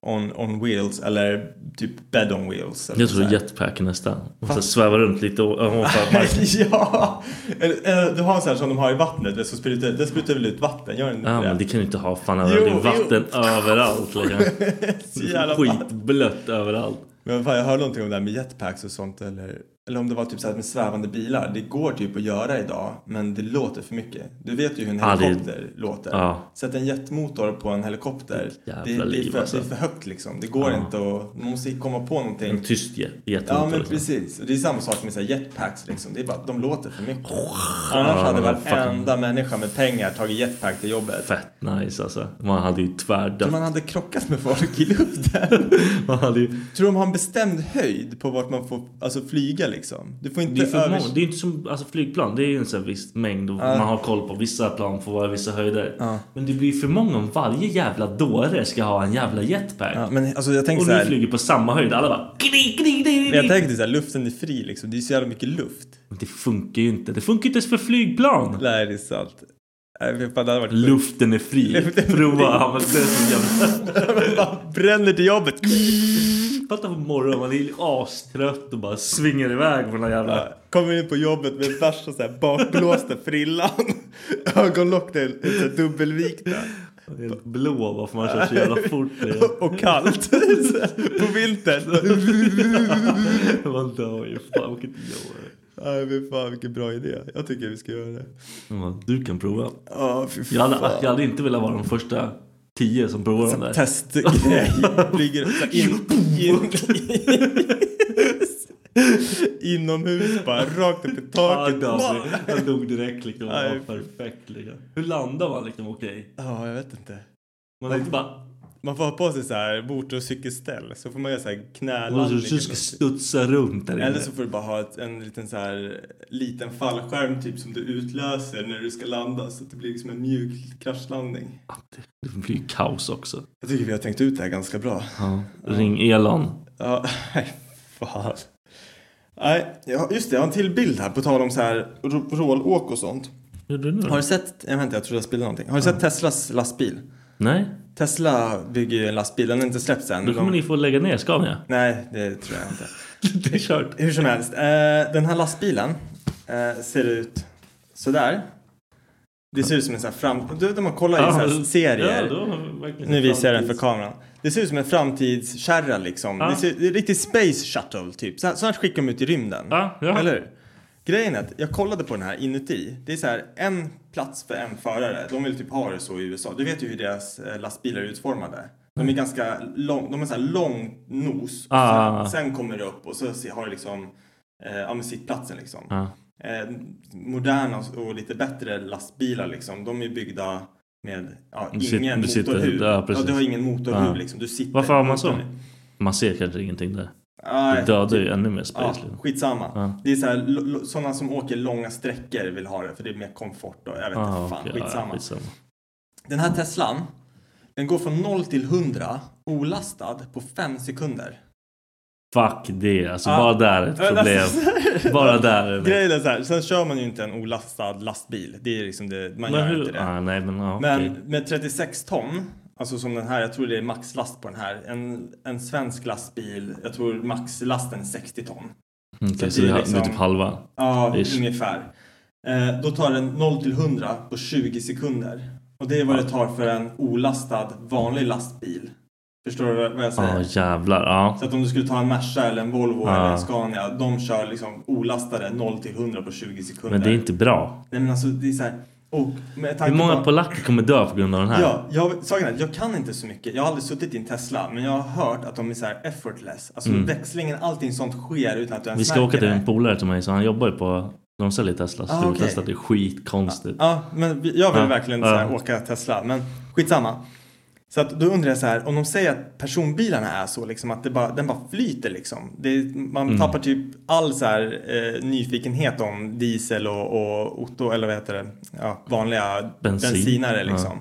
S4: on, on wheels eller typ bed on wheels. Eller
S1: Jag tror
S4: så här.
S1: jetpack nästan. Och så
S4: Fast-
S1: sväva runt lite o- ovanför marken.
S4: ja! Eller, eller, du har en sån här som de har i vattnet, det, så sprutar, det sprutar väl ut vatten, gör den inte
S1: Ja
S4: det?
S1: men det kan du inte ha fan
S4: Jo,
S1: överallt. Det är
S4: jo.
S1: vatten överallt. Liksom.
S4: Så jävla
S1: Skitblött överallt.
S4: Men fan, jag hörde någonting om det här med jetpacks och sånt eller, eller om det var typ så här med svävande bilar. Det går typ att göra idag men det låter för mycket. Du vet ju hur en
S1: Ja, det-
S4: helikopter låter.
S1: Ja.
S4: Sätt en jetmotor på en helikopter. Det,
S1: jävla
S4: det, är,
S1: liv,
S4: för,
S1: alltså.
S4: det är för högt liksom. Det går
S1: Ja. Typ
S4: inte att... Man måste komma på någonting.
S1: En tyst jet.
S4: Ja men
S1: jättemotor, liksom.
S4: precis. Och det är samma sak med så här jetpacks liksom. Det är bara att de låter för mycket. Annars hade varenda människa med pengar tagit jetpack till jobbet.
S1: Fett nice alltså. Man hade ju tvärdött.
S4: Men man hade krockat med folk i luften.
S1: Man hade ju...
S4: Tror du de har en bestämd höjd på vart man får alltså, flyga liksom? Du får
S1: Det
S4: inte
S1: är, för
S4: över...
S1: många. det är inte som alltså, flygplan. Det är ju en sån här viss mängd och man har koll på. Vissa plan får vara i vissa höjder. Men det blir för många om varje jävla dåre ska ha en jävla jetpack.
S4: Ja, men alltså jag tänker
S1: och
S4: så
S1: ni
S4: här,
S1: flyger på samma höjd. Alla bara... Kri, kri, kri,
S4: men jag tänker så här, luften är fri liksom. Det är så jävla mycket luft.
S1: Men det funkar ju inte. Det funkar inte ens för flygplan.
S4: Nej, det är sant. Nej, fy fan, det hade varit
S1: Luften är fri.
S4: Luften är fri.
S1: Prova att använda det som jävla...
S4: Man bränner till jobbet.
S1: Fatta på morgonen, man är astrött och bara svingar iväg på den här jävla...
S4: Kommer in på jobbet med värsta så här bakblåsta frillan. Ögonlock är så här dubbelvikta.
S1: Helt blå bara för man kör så jävla fort.
S4: Och kallt. på vintern.
S1: Man dör ju. Fan vilket jobb.
S4: Nej, fy fan vilken bra idé. Jag tycker vi ska göra det.
S1: Man bara, Du kan prova.
S4: Ja, fy fan.
S1: Jag hade, jag hade inte velat vara de första tio som provar den där.
S4: Testgrej. Flyger så här in, in, inomhus bara rakt upp i
S1: Ah,
S4: taket.
S1: dog. Jag dog direkt liksom.
S4: typ. Nej.
S1: Ja, perfekt liksom. Hur landar man liksom okej?
S4: Ja, jag vet inte.
S1: Man är inte bara...
S4: Man får ha på sig så här motorcykelställ så får man göra så här
S1: Man
S4: knälandning.
S1: Alltså, ska studsa runt där
S4: Eller
S1: inne.
S4: så får du bara ha ett, en liten så här liten fallskärm typ som du utlöser när du ska landa så att det blir liksom en mjuk kraschlandning.
S1: Det blir ju kaos också.
S4: Jag tycker vi har tänkt ut det här ganska bra.
S1: Ring Elon.
S4: Ja, nej, fan. Nej, ja, just det, jag har en till bild här på tal om så här r- rålåk och sånt.
S1: Gör du nu
S4: Har du sett, jag vänta jag tror jag spelade någonting. Har du sett Teslas lastbil?
S1: Nej.
S4: Tesla bygger ju en lastbil, den har inte släppts än.
S1: Då kommer ni få lägga ner Scania.
S4: Nej, det tror jag inte.
S1: Det är kört.
S4: Hur som helst, eh, den här lastbilen eh, ser ut sådär. Det ser ut som en sån här fram... Du vet om man kollar i så här serier.
S1: Ja, då har vi verkligen
S4: Nu
S1: en
S4: visar jag den för
S1: framtids-
S4: kameran. Det ser ut som en framtidskärra liksom.
S1: Ja.
S4: Det, ser, det är riktigt space shuttle typ. Så här, så här skickar de ut i rymden.
S1: Ja, ja.
S4: Eller hur? Grejen är att jag kollade på den här inuti. Det är så här en plats för en förare. De vill typ ha det så i USA. Du vet ju hur deras eh, lastbilar är utformade. De är ganska lång, de har så här lång nos. och
S1: Ah.
S4: Sen, sen kommer det upp och så se- har det liksom, eh, ja men sittplatsen liksom.
S1: Ja.
S4: Eh, moderna och- och lite bättre lastbilar liksom. De är byggda med ja,
S1: Du sit-
S4: ingen
S1: du sitter-
S4: motorhuv.
S1: ja,
S4: ja,
S1: precis.
S4: du har ingen motorhuv
S1: Ja.
S4: liksom. Du sitter
S1: Varför har man så?
S4: motorn-
S1: Man ser kanske ingenting där.
S4: Nej,
S1: Det dödar ju ännu mer space.
S4: Ja,
S1: liksom.
S4: skitsamma.
S1: Ja.
S4: Det är så här, lo- lo- sådana som åker långa sträckor vill ha det för det är mer komfort och jag vet
S1: Ah,
S4: inte fan.
S1: okej, ja, ja,
S4: skitsamma.
S1: skitsamma.
S4: Den här Teslan, den går från 0 till 100 olastad på 5 sekunder.
S1: Fuck det. Alltså
S4: Ja.
S1: bara där är ett
S4: Ja, Ah. men
S1: problem. bara där. är det-
S4: Grejen är så här, sen kör man ju inte en olastad lastbil. Det är liksom det, man
S1: Men
S4: gör
S1: hur?
S4: inte det.
S1: Ah, nej men ah,
S4: Men
S1: okej.
S4: med 36 ton, alltså som den här, jag tror det är maxlast på den här. En, en svensk lastbil, jag tror maxlasten är 60 ton.
S1: Okej,
S4: så
S1: så
S4: det
S1: det
S4: är
S1: är,
S4: liksom-
S1: det är typ halva.
S4: Ja,
S1: Ish.
S4: ungefär. Eh, då tar den 0 till 100 på 20 sekunder. Och det är vad det tar för en olastad vanlig lastbil. Förstår du vad jag
S1: Ja
S4: säger?
S1: Ah, jävlar. Ja.
S4: Så att om du skulle ta en Merca eller en Volvo eller
S1: Ja.
S4: en Scania, de kör liksom olastade 0 till 100 på 20 sekunder.
S1: Men det är inte bra.
S4: Nej men alltså det är så här... Och med tanke
S1: Hur många
S4: på-
S1: polacker kommer dö på grund av den här?
S4: Ja, jag, saken är, att jag kan inte så mycket. Jag har aldrig suttit i en Tesla, men jag har hört att de är så här effortless. Alltså växlingen, allting sånt sker utan att du ens
S1: Mm. Vi ska åka
S4: märker
S1: till
S4: det.
S1: en polare till mig så han jobbar ju på... De säljer Tesla. Så
S4: Ah,
S1: ah,
S4: okej. Ah,
S1: Tesla. Det är skitkonstigt.
S4: Ja, men vi- jag vill
S1: Typ. Ja,
S4: verkligen
S1: ja.
S4: Så här, åka Tesla, men skitsamma. Så att då undrar jag så här, om de säger att personbilarna är så liksom att det bara, den bara flyter liksom. Det, är- man
S1: Mm.
S4: tappar typ all så här eh, nyfikenhet om diesel och, och Otto eller vad heter det, ja, vanliga
S1: Bensin.
S4: bensinare
S1: Ja.
S4: liksom.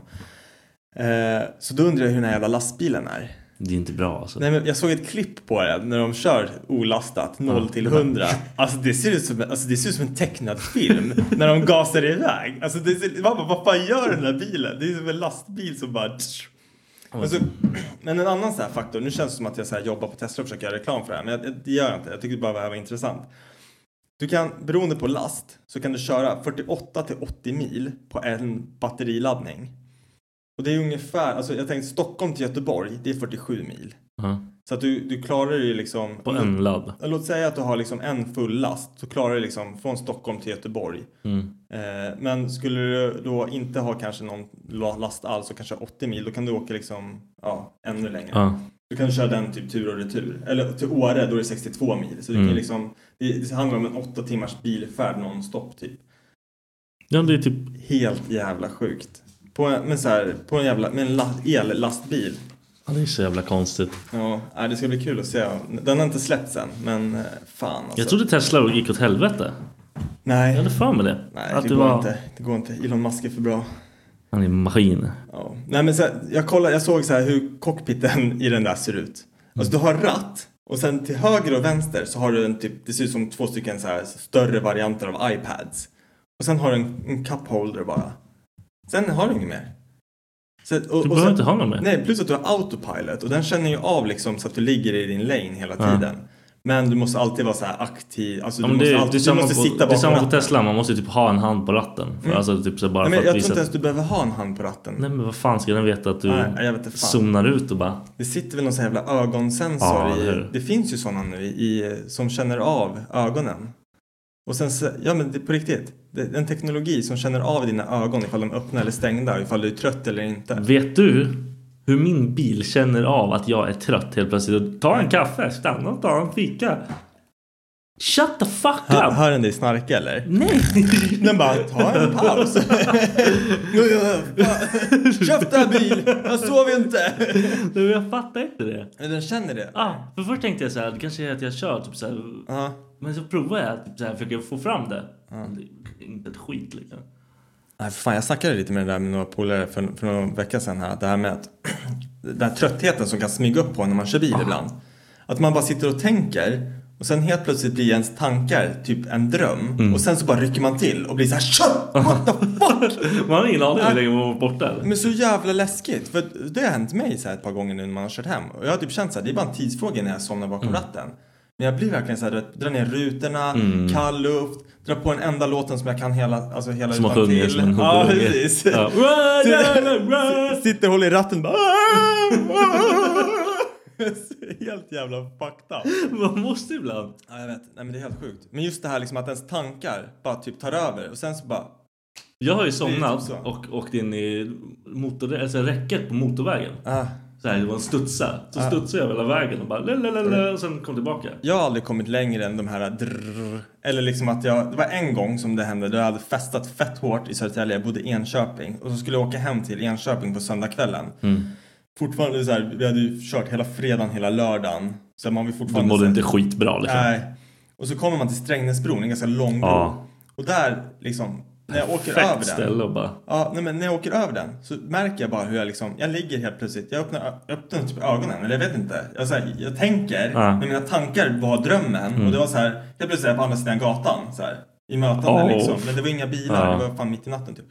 S4: Eh, så då undrar jag hur den här jävla lastbilen är.
S1: Det är inte bra alltså.
S4: ah. Nej, men jag såg ett klipp på det när de kör olastat 0 till 100. Alltså det ser ut som, alltså, det ser ut som en tecknad film när de gasar iväg. Alltså det ser, man bara, vad fan gör den där bilen? Det är som en lastbil som bara... Men, så, men en annan så här faktor, nu känns det som att jag så här jobbar på Tesla och försöker göra reklam för det här, men jag, det gör jag inte. Jag tycker bara det här var intressant. Du kan, beroende på last, så kan du köra 48 till 80 mil på en batteriladdning. Och det är ungefär, alltså jag tänkte Stockholm till Göteborg, det är 47 mil. Så att du, du klarar det ju liksom...
S1: Ah, På en ladd.
S4: Låt säga att du har liksom en full last, så klarar du liksom från Stockholm till Göteborg.
S1: Mm.
S4: Eh, Men skulle du då inte ha kanske någon la- last alls och kanske 80 mil, då kan du åka liksom, ja, ännu längre.
S1: Ja.
S4: Du kan köra den typ tur och retur. Eller till Åre, då är det 62 mil. Så det,
S1: Mm.
S4: kan liksom, det, det handlar om en åtta timmars bilfärd nonstop typ.
S1: Ja, det är typ...
S4: Helt jävla sjukt. På en, men så här, på en jävla, med en la, ellastbil.
S1: Ja, det är så jävla konstigt.
S4: Ja, nej, det ska bli kul att se. Den har inte släppts än, men eh, fan alltså.
S1: Jag trodde Tesla gick åt helvete. Jag
S4: Nej,
S1: hade för mig det.
S4: nej
S1: att
S4: det,
S1: det
S4: går
S1: var...
S4: inte. Det går inte. Elon Musk är för bra.
S1: Han är en maskin.
S4: Ja. Nej, men så här, jag, kollade, jag såg så här hur cockpiten i den där ser ut. Alltså du har ratt och sen till höger och vänster så har du en typ, det ser ut som två stycken så här större varianter av iPads. Och sen har du en, en cup holder bara. Sen har du inget mer. Så, att- och,
S1: Du behöver inte ha någon mer.
S4: Nej, plus att du har autopilot och den känner ju av liksom så att du ligger i din lane hela
S1: Ja.
S4: tiden. Men du måste alltid vara så här aktiv, alltså
S1: Ja,
S4: du
S1: men det,
S4: måste,
S1: är- det är
S4: alltid, du
S1: samma
S4: måste
S1: på,
S4: sitta
S1: det är
S4: bakom
S1: samma på
S4: ratten.
S1: Tesla, man måste ju typ ha en hand på ratten. För
S4: Mm.
S1: alltså typ så bara
S4: Nej, men
S1: för
S4: jag
S1: att
S4: tror
S1: visa
S4: inte
S1: att...
S4: ens du behöver ha en hand på ratten.
S1: Nej men vad fan ska den veta att du
S4: Nej, jag vet inte fan.
S1: zonar ut och bara...
S4: Det sitter väl någon sån här jävla ögonsensor
S1: Ja, eller
S4: i,
S1: hur?
S4: det finns ju sådana nu i, i, som känner av ögonen. Och sen, så- ja men det, på riktigt, det är en teknologi som känner av dina ögon ifall de är öppna eller stängda, ifall du är trött eller inte.
S1: Vet du hur min bil känner av att jag är trött helt plötsligt? Ta en kaffe, stanna och ta en fika. Shut the fuck up!
S4: Hör, hör den dig snarka eller?
S1: Nej!
S4: Den bara, ta en paus. nu, ja, fan. Köp den här bil, jag sover inte.
S1: Nej, Jag fattar inte det.
S4: Men den känner det.
S1: Ah, för först tänkte jag så här, det kanske är att jag kör typ så här,
S4: Ja.
S1: Men så provar jag att så här, försöker få fram det. det är inte ett skit liksom.
S4: Nej, för fan, jag snackade lite med det där med några polare för, för någon vecka sedan här. Det här med att den här tröttheten som kan smyga upp på en när man kör bil ibland. Att man bara sitter och tänker och sen helt plötsligt blir ens tankar typ en dröm.
S1: Mm.
S4: Och sen så bara rycker man till och blir så här "Shut! What the fuck?
S1: Man har ingen aning
S4: Ah.
S1: hur länge man var borta. eller?
S4: Men så jävla läskigt. För det har hänt mig så här ett par gånger nu när man har kört hem. Och jag har typ känt så här, det är bara en tidsfråga när jag somnar bakom
S1: Mm.
S4: ratten. Men jag blir verkligen så här, du vet, drar ner rutorna,
S1: Mm.
S4: kall luft, drar på den enda låten som jag kan hela, alltså hela
S1: Som man
S4: utan
S1: sjunger
S4: till.
S1: som en
S4: Ja,
S1: horunge.
S4: precis.
S1: Ja.
S4: Sitter och håller i ratten och bara... "Ah!" Helt jävla fucked up.
S1: Man måste ibland.
S4: Ja, jag vet. Nej, men det är helt sjukt. Men just det här liksom att ens tankar bara typ tar över och sen så bara...
S1: Jag har ju
S4: typ
S1: somnat
S4: så.
S1: och åkt in i motor, alltså räcket på motorvägen.
S4: Ah.
S1: Så här, det var en studsa. Så studsade jag hela vägen och bara lalalala, och sen kom tillbaka.
S4: Jag har aldrig kommit längre än de här drrrr. Eller liksom att jag, det var en gång som det hände då jag hade festat fett hårt i Södertälje, jag bodde i Enköping och så skulle jag åka hem till Enköping på söndagskvällen.
S1: Mm.
S4: Fortfarande så här, vi hade ju kört hela fredagen, hela lördagen. Så man var ju
S1: Du
S4: fortfarande... så
S1: mådde
S4: här-
S1: inte skitbra liksom.
S4: Nej. Och så kommer man till Strängnäsbron, en ganska lång bro.
S1: Ja.
S4: Och där liksom, när jag åker
S1: Fett
S4: över den.
S1: ställe och bara...
S4: Ja, nej, men när jag åker över den så märker jag bara hur jag liksom, jag ligger helt plötsligt, jag öppnar, jag öppnar typ ögonen, eller jag vet inte. Jag, så här, jag tänker,
S1: Ja. Mm.
S4: men mina tankar var drömmen och det var så här, helt plötsligt är jag på andra sidan gatan så här, i mötande
S1: Oh.
S4: liksom. Men det var inga bilar,
S1: Ja.
S4: det var fan mitt i natten typ.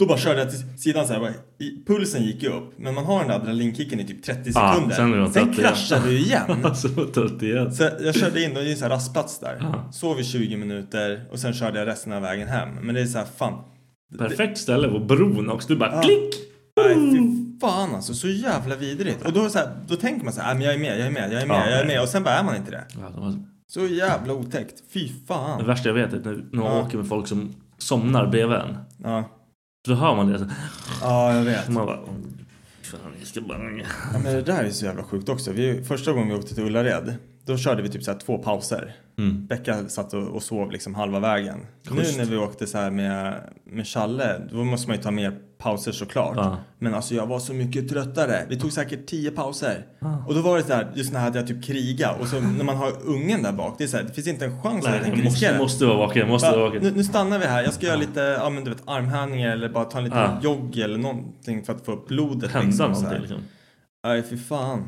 S4: Då bara körde jag till sidan så här, bara, i, pulsen gick ju upp, men man har den där adrenalinkicken i typ 30
S1: Ja,
S4: sekunder.
S1: sen är man
S4: sen
S1: trött igen.
S4: kraschar du igen.
S1: Alltså vad trött igen.
S4: Så jag körde in, och Mm. det är en sån här rastplats där.
S1: Ja.
S4: Sov i 20 minuter och sen körde jag resten av vägen hem. Men det är så här, fan.
S1: Perfekt ställe på bron också. Du bara
S4: Ah.
S1: klick!
S4: Nej,
S1: Mm.
S4: fy fan alltså. Så jävla vidrigt. Och då, så här, då tänker man så här, "Nej, men jag är med, jag är med, jag är med,
S1: Ja.
S4: jag är med. Och sen bara är man inte det.
S1: Ja, det, var
S4: Så jävla otäckt. Fy
S1: det
S4: fan.
S1: värsta jag vet är att när när
S4: Ah.
S1: man åker med folk som somnar bredvid en.
S4: Ja,
S1: Då hör man det. Så
S4: Ah. ja jag vet.
S1: man bara... "Åh, Fan, jag ska bara...
S4: Ja, men det där är så jävla sjukt också. Vi, första gången vi åkte till Ullared, då körde vi typ så här två pauser.
S1: Mm.
S4: Becka satt och, och sov liksom halva vägen.
S1: Schysst.
S4: Nu när vi åkte så här med, med Challe, då måste man ju ta mer pauser såklart.
S1: Ja.
S4: Men alltså jag var så mycket tröttare. Vi tog säkert tio pauser.
S1: Ah.
S4: Och då var det så här, just när jag hade jag typ kriga. Och så när man har ungen där bak, det är så här, det finns inte en chans att
S1: Nej,
S4: jag tänker
S1: jag måste,
S4: riskera.
S1: måste vara vaken. Måste vara
S4: Va, nu,
S1: vaken.
S4: nu stannar vi här, jag ska göra lite ja, men du vet, armhävningar eller bara ta en liten
S1: Ja.
S4: jogg eller någonting för att få upp blodet.
S1: Hända
S4: så här.
S1: någonting liksom.
S4: Nej, fy fan.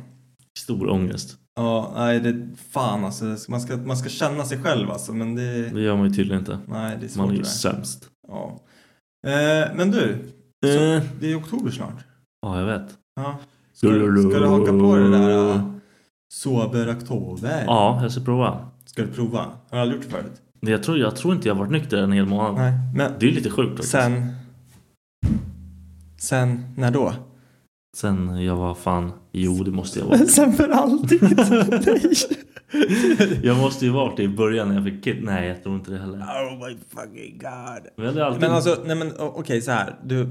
S1: Stor ångest.
S4: Ja, nej det fan alltså. Man ska, man ska känna sig själv alltså, men det...
S1: Det gör man ju tydligen inte.
S4: Nej, det är svårt
S1: Man är ju
S4: det där.
S1: sämst.
S4: Ja. Eh, men du, så,
S1: Eh.
S4: det är oktober snart.
S1: Ja, jag vet.
S4: Ja. Ska, ska du haka på det där uh, sober oktober?
S1: Ja, jag ska prova.
S4: Ska du prova? Har du aldrig gjort det förut?
S1: Nej, Jag tror, jag tror inte jag har varit nykter en hel månad.
S4: Nej, men
S1: Det är ju lite sjukt faktiskt.
S4: sen... Sen när då?
S1: Sen jag var fan... Jo, det måste jag vara.
S4: Sen för alltid! Nej!
S1: Jag måste ju varit det i början när jag fick kid. Nej, jag tror inte det heller.
S4: Oh my fucking god.
S1: Men, jag hade alltid...
S4: Men alltså, nej men o- okej så här. Du,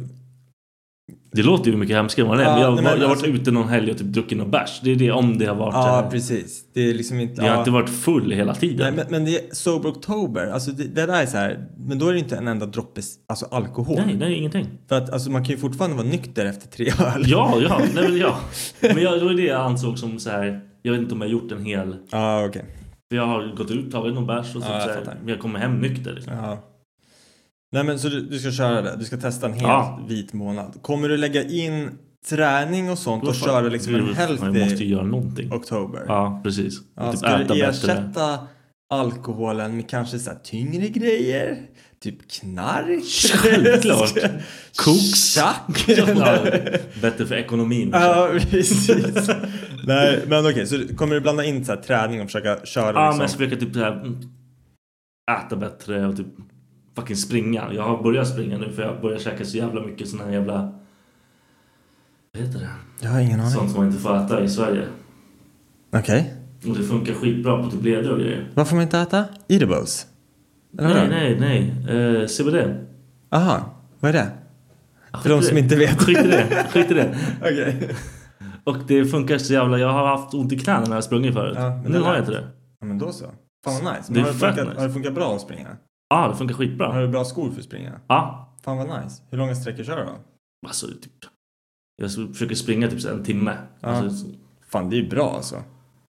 S1: Det låter ju mycket hemskare än vad det är.
S4: Ja,
S1: men jag,
S4: nej, men
S1: jag har varit
S4: alltså-
S1: ute någon helg och typ druckit någon bärs. Det är det om det har varit.
S4: ja
S1: eh,
S4: precis. Det är liksom inte...
S1: Jag har
S4: ja.
S1: inte varit full hela tiden.
S4: Nej, men, men det är sober oktober. Alltså det, det där är så här. Men då är det inte en enda droppe s- alltså alkohol.
S1: nej, nej, ingenting.
S4: För att alltså, man kan ju fortfarande vara nykter efter tre öl.
S1: Ja, ja, nej men ja. Men jag, det var det jag ansåg som så här. Jag vet inte om jag har gjort en hel...
S4: Ja, okej.
S1: För jag har gått ut, tagit någon bärs och så,
S4: Ja, jag
S1: så här,
S4: fattar.
S1: men jag kommer hem nykter. Liksom.
S4: Ja. Nej men så du, du ska köra det. Du ska testa en hel
S1: Ja.
S4: vit månad. Kommer du lägga in träning och sånt och
S1: Vad fan,
S4: köra liksom en
S1: du- Man Mm. måste ju
S4: healthy
S1: göra någonting.
S4: oktober?
S1: Ja, precis.
S4: Ja,
S1: typ
S4: ska
S1: äta
S4: du
S1: bättre.
S4: ersätta alkoholen med kanske så här tyngre grejer? Typ knark?
S1: Självklart. Koks.
S4: Tjack?
S1: Ja, bättre för ekonomin.
S4: Ja, precis. Nej, men okej, så kommer du blanda in så här träning och försöka köra
S1: Ja, men jag
S4: liksom?
S1: ska försöka typ så här, mm, äta bättre och typ fucking springa. Jag har börjat springa nu för jag börjar käka så jävla mycket sån här jävla... Vad heter det?
S4: Jag har ingen aning.
S1: Sånt som man inte får äta i Sverige.
S4: Okej.
S1: Och det funkar skitbra på typ leder och grejer.
S4: Vad får man inte äta? Eatables? Eller
S1: Nej,
S4: vadå?
S1: nej, nej. Eh, CBD.
S4: Aha, vad är det?
S1: Skit
S4: För de
S1: i
S4: som
S1: det.
S4: inte vet.
S1: Skit i det. Skit i det.
S4: Okej.
S1: Och det funkar så jävla... Jag har haft ont i knäna när jag har sprungit förut.
S4: Ja, men
S1: men
S4: det
S1: nu har jag
S4: lät.
S1: inte det.
S4: Ja, men då så. Fan vad
S1: Det
S4: nice. Men
S1: är
S4: har, det
S1: fett
S4: funkat,
S1: nice.
S4: har det funkat bra att springa?
S1: Ja, ah, det funkar skitbra.
S4: Har
S1: Ja.
S4: du bra skor för att springa? Fan vad nice. Hur långa sträckor kör du då?
S1: Alltså, typ... Jag försöker springa typ så här en timme.
S4: Ja.
S1: Alltså, så-
S4: Fan, det är ju bra alltså.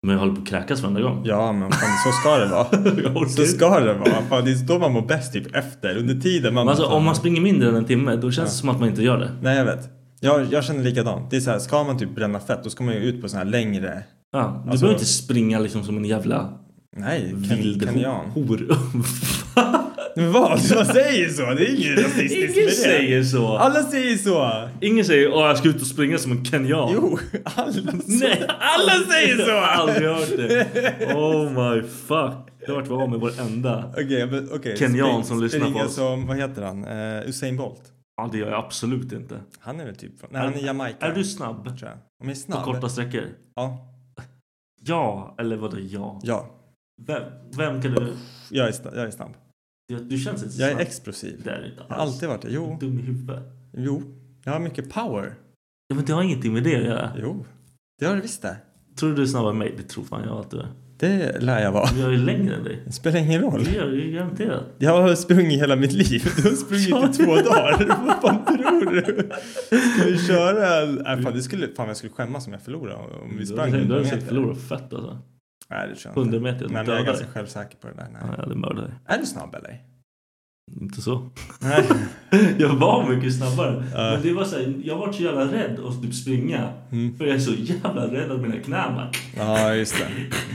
S1: men jag håller på att kräkas varenda gång.
S4: Ja, men fan, så ska det
S1: Jag orkar
S4: vara. så
S1: inte.
S4: ska det vara. Fan, det är då man mår bäst typ efter. Under tiden man...
S1: Men alltså,
S4: fan.
S1: om man springer mindre än en timme, då känns det som att man inte gör det.
S4: Nej, jag vet. Jag, jag känner likadant. Det är så här, ska man typ bränna fett då ska man ju ut på såna här längre...
S1: Ja, du
S4: Alltså-
S1: behöver inte springa liksom som en jävla
S4: Nej,
S1: vild
S4: kan,
S1: ho-
S4: kan
S1: hor.
S4: Men vad? Man säger så! Det är inget rasistiskt med
S1: Ingen
S4: det.
S1: säger så.
S4: Alla säger så!
S1: Ingen säger åh jag ska ut och springa som en kenyan.
S4: Jo, alla säger
S1: Nej,
S4: Alla säger så!
S1: Jag har aldrig hört det. Oh my fuck. Jag har varit av med varenda.
S4: Okej, men okej.
S1: Kenyan
S4: Spring-
S1: som lyssnar på
S4: springa
S1: oss.
S4: som, vad heter han? Eh, Usain Bolt.
S1: Ja, det gör jag absolut inte.
S4: Han är väl typ från... Nej, han är Jamaica.
S1: Är du snabb?
S4: Tror jag. Om jag är
S1: På
S4: snabb?
S1: korta sträckor?
S4: Ja.
S1: Ja, eller vadå ja?
S4: Ja.
S1: Vem, vem kan du...
S4: Jag är, snabb, jag är snabb.
S1: Du, du känns inte så
S4: Jag är
S1: snabb.
S4: explosiv.
S1: Det är du inte
S4: Jag har
S1: alls.
S4: alltid varit det. Jo,
S1: Dum i huvudet.
S4: jo. Jag har mycket power.
S1: Ja, men det har ingenting med det att göra.
S4: Jo. Det har du visst det.
S1: Tror du du är snabbare än mig? Det tror fan jag att du är.
S4: Det lär jag vara.
S1: Men Jag är längre än dig.
S4: Det spelar ingen roll.
S1: Det gör du ju garanterat.
S4: Jag har sprungit hela mitt liv. Du har sprungit i två dagar. Vad fan tror du? Ska vi köra? Nej, fan, det skulle, fan jag skulle skämmas om jag förlorade. Om vi
S1: Du
S4: sprang
S1: har du har
S4: hundra
S1: sett
S4: meter.
S1: förlora fett alltså.
S4: Nej, det tror jag
S1: 100
S4: inte.
S1: meter,
S4: Nej, men jag
S1: dödar
S4: är ganska
S1: dig.
S4: självsäker på det där. Nej.
S1: Ja, jag hade mördat dig.
S4: Är du snabb eller?
S1: Inte så.
S4: Nej.
S1: Jag var mycket snabbare. Men det var så här, jag var så jävla rädd att typ springa.
S4: Mm.
S1: För jag är så jävla rädd att mina knän bara...
S4: Ja, just det.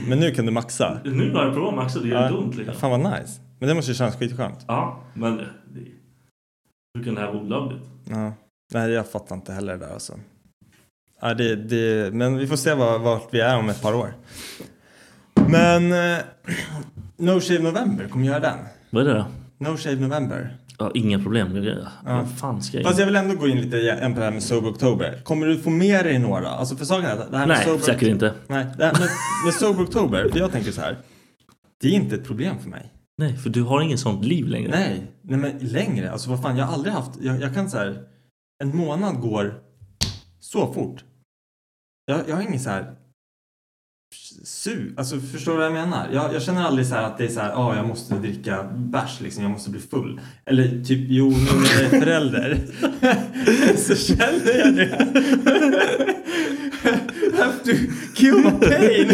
S4: Men nu kan du maxa.
S1: Nu har jag provat Max och det gör inte ont liksom.
S4: Fan vad nice. Men det måste ju kännas skitskönt.
S1: Ja, men... Det, hur kan det här vara olagligt?
S4: Ja. Nej, jag fattar inte heller det där alltså. Ja, det, det, men vi får se var, vart vi är om ett par år. Men eh, No Shave November, kommer göra den?
S1: Vad är det då?
S4: No Shave November.
S1: Ja, inga problem. Jag, jag, Vad fan ska jag...
S4: Fast jag vill ändå gå in lite igen på det här med Sober October. Kommer du få med dig några? Alltså för saken är att det här med
S1: Nej,
S4: Sober...
S1: säkert inte.
S4: Nej, det här med, med Sober October, för jag tänker så här. Det är inte ett problem för mig.
S1: Nej, för du har ingen sånt liv längre.
S4: Nej, nej men längre. Alltså vad fan, jag har aldrig haft... Jag, jag kan så här... En månad går så fort. Jag, jag har ingen så här... Su, alltså förstår du vad jag menar? Jag, jag känner aldrig så här att det är så här, ja jag måste dricka bärs liksom, jag måste bli full. Eller typ, jo nu när jag är förälder så känner jag det. Have to kill my pain.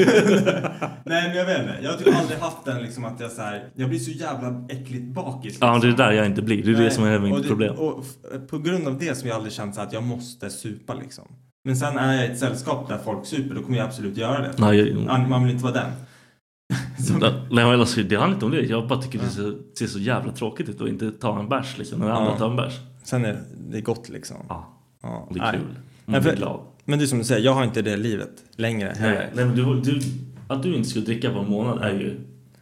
S4: Nej men jag vet inte, jag har typ aldrig haft den liksom att jag så här, jag blir så jävla äckligt bakis.
S1: Ja, det är
S4: liksom.
S1: där jag inte blir. Det är det
S4: Nej,
S1: som är
S4: och
S1: mitt
S4: det-
S1: problem.
S4: Och f- på grund av det som jag aldrig känt så att jag måste supa liksom. Men sen är jag i ett sällskap där folk super, då kommer jag absolut göra det.
S1: Nej, jag-
S4: Man- Man vill inte vara den. Som-
S1: Nej, men alltså, det handlar inte om det. Jag bara tycker det ser, ser så jävla tråkigt ut att inte ta en bärs liksom. När andra
S4: Ja.
S1: tar en bärs.
S4: Sen är det gott liksom.
S1: Ja,
S4: Ja,
S1: det är
S4: nej.
S1: kul. Man
S4: Nej,
S1: blir
S4: för-
S1: glad.
S4: Men det är som du säger, jag har inte det livet längre.
S1: Nej, nej men du, du, att du inte skulle dricka på en månad är ju...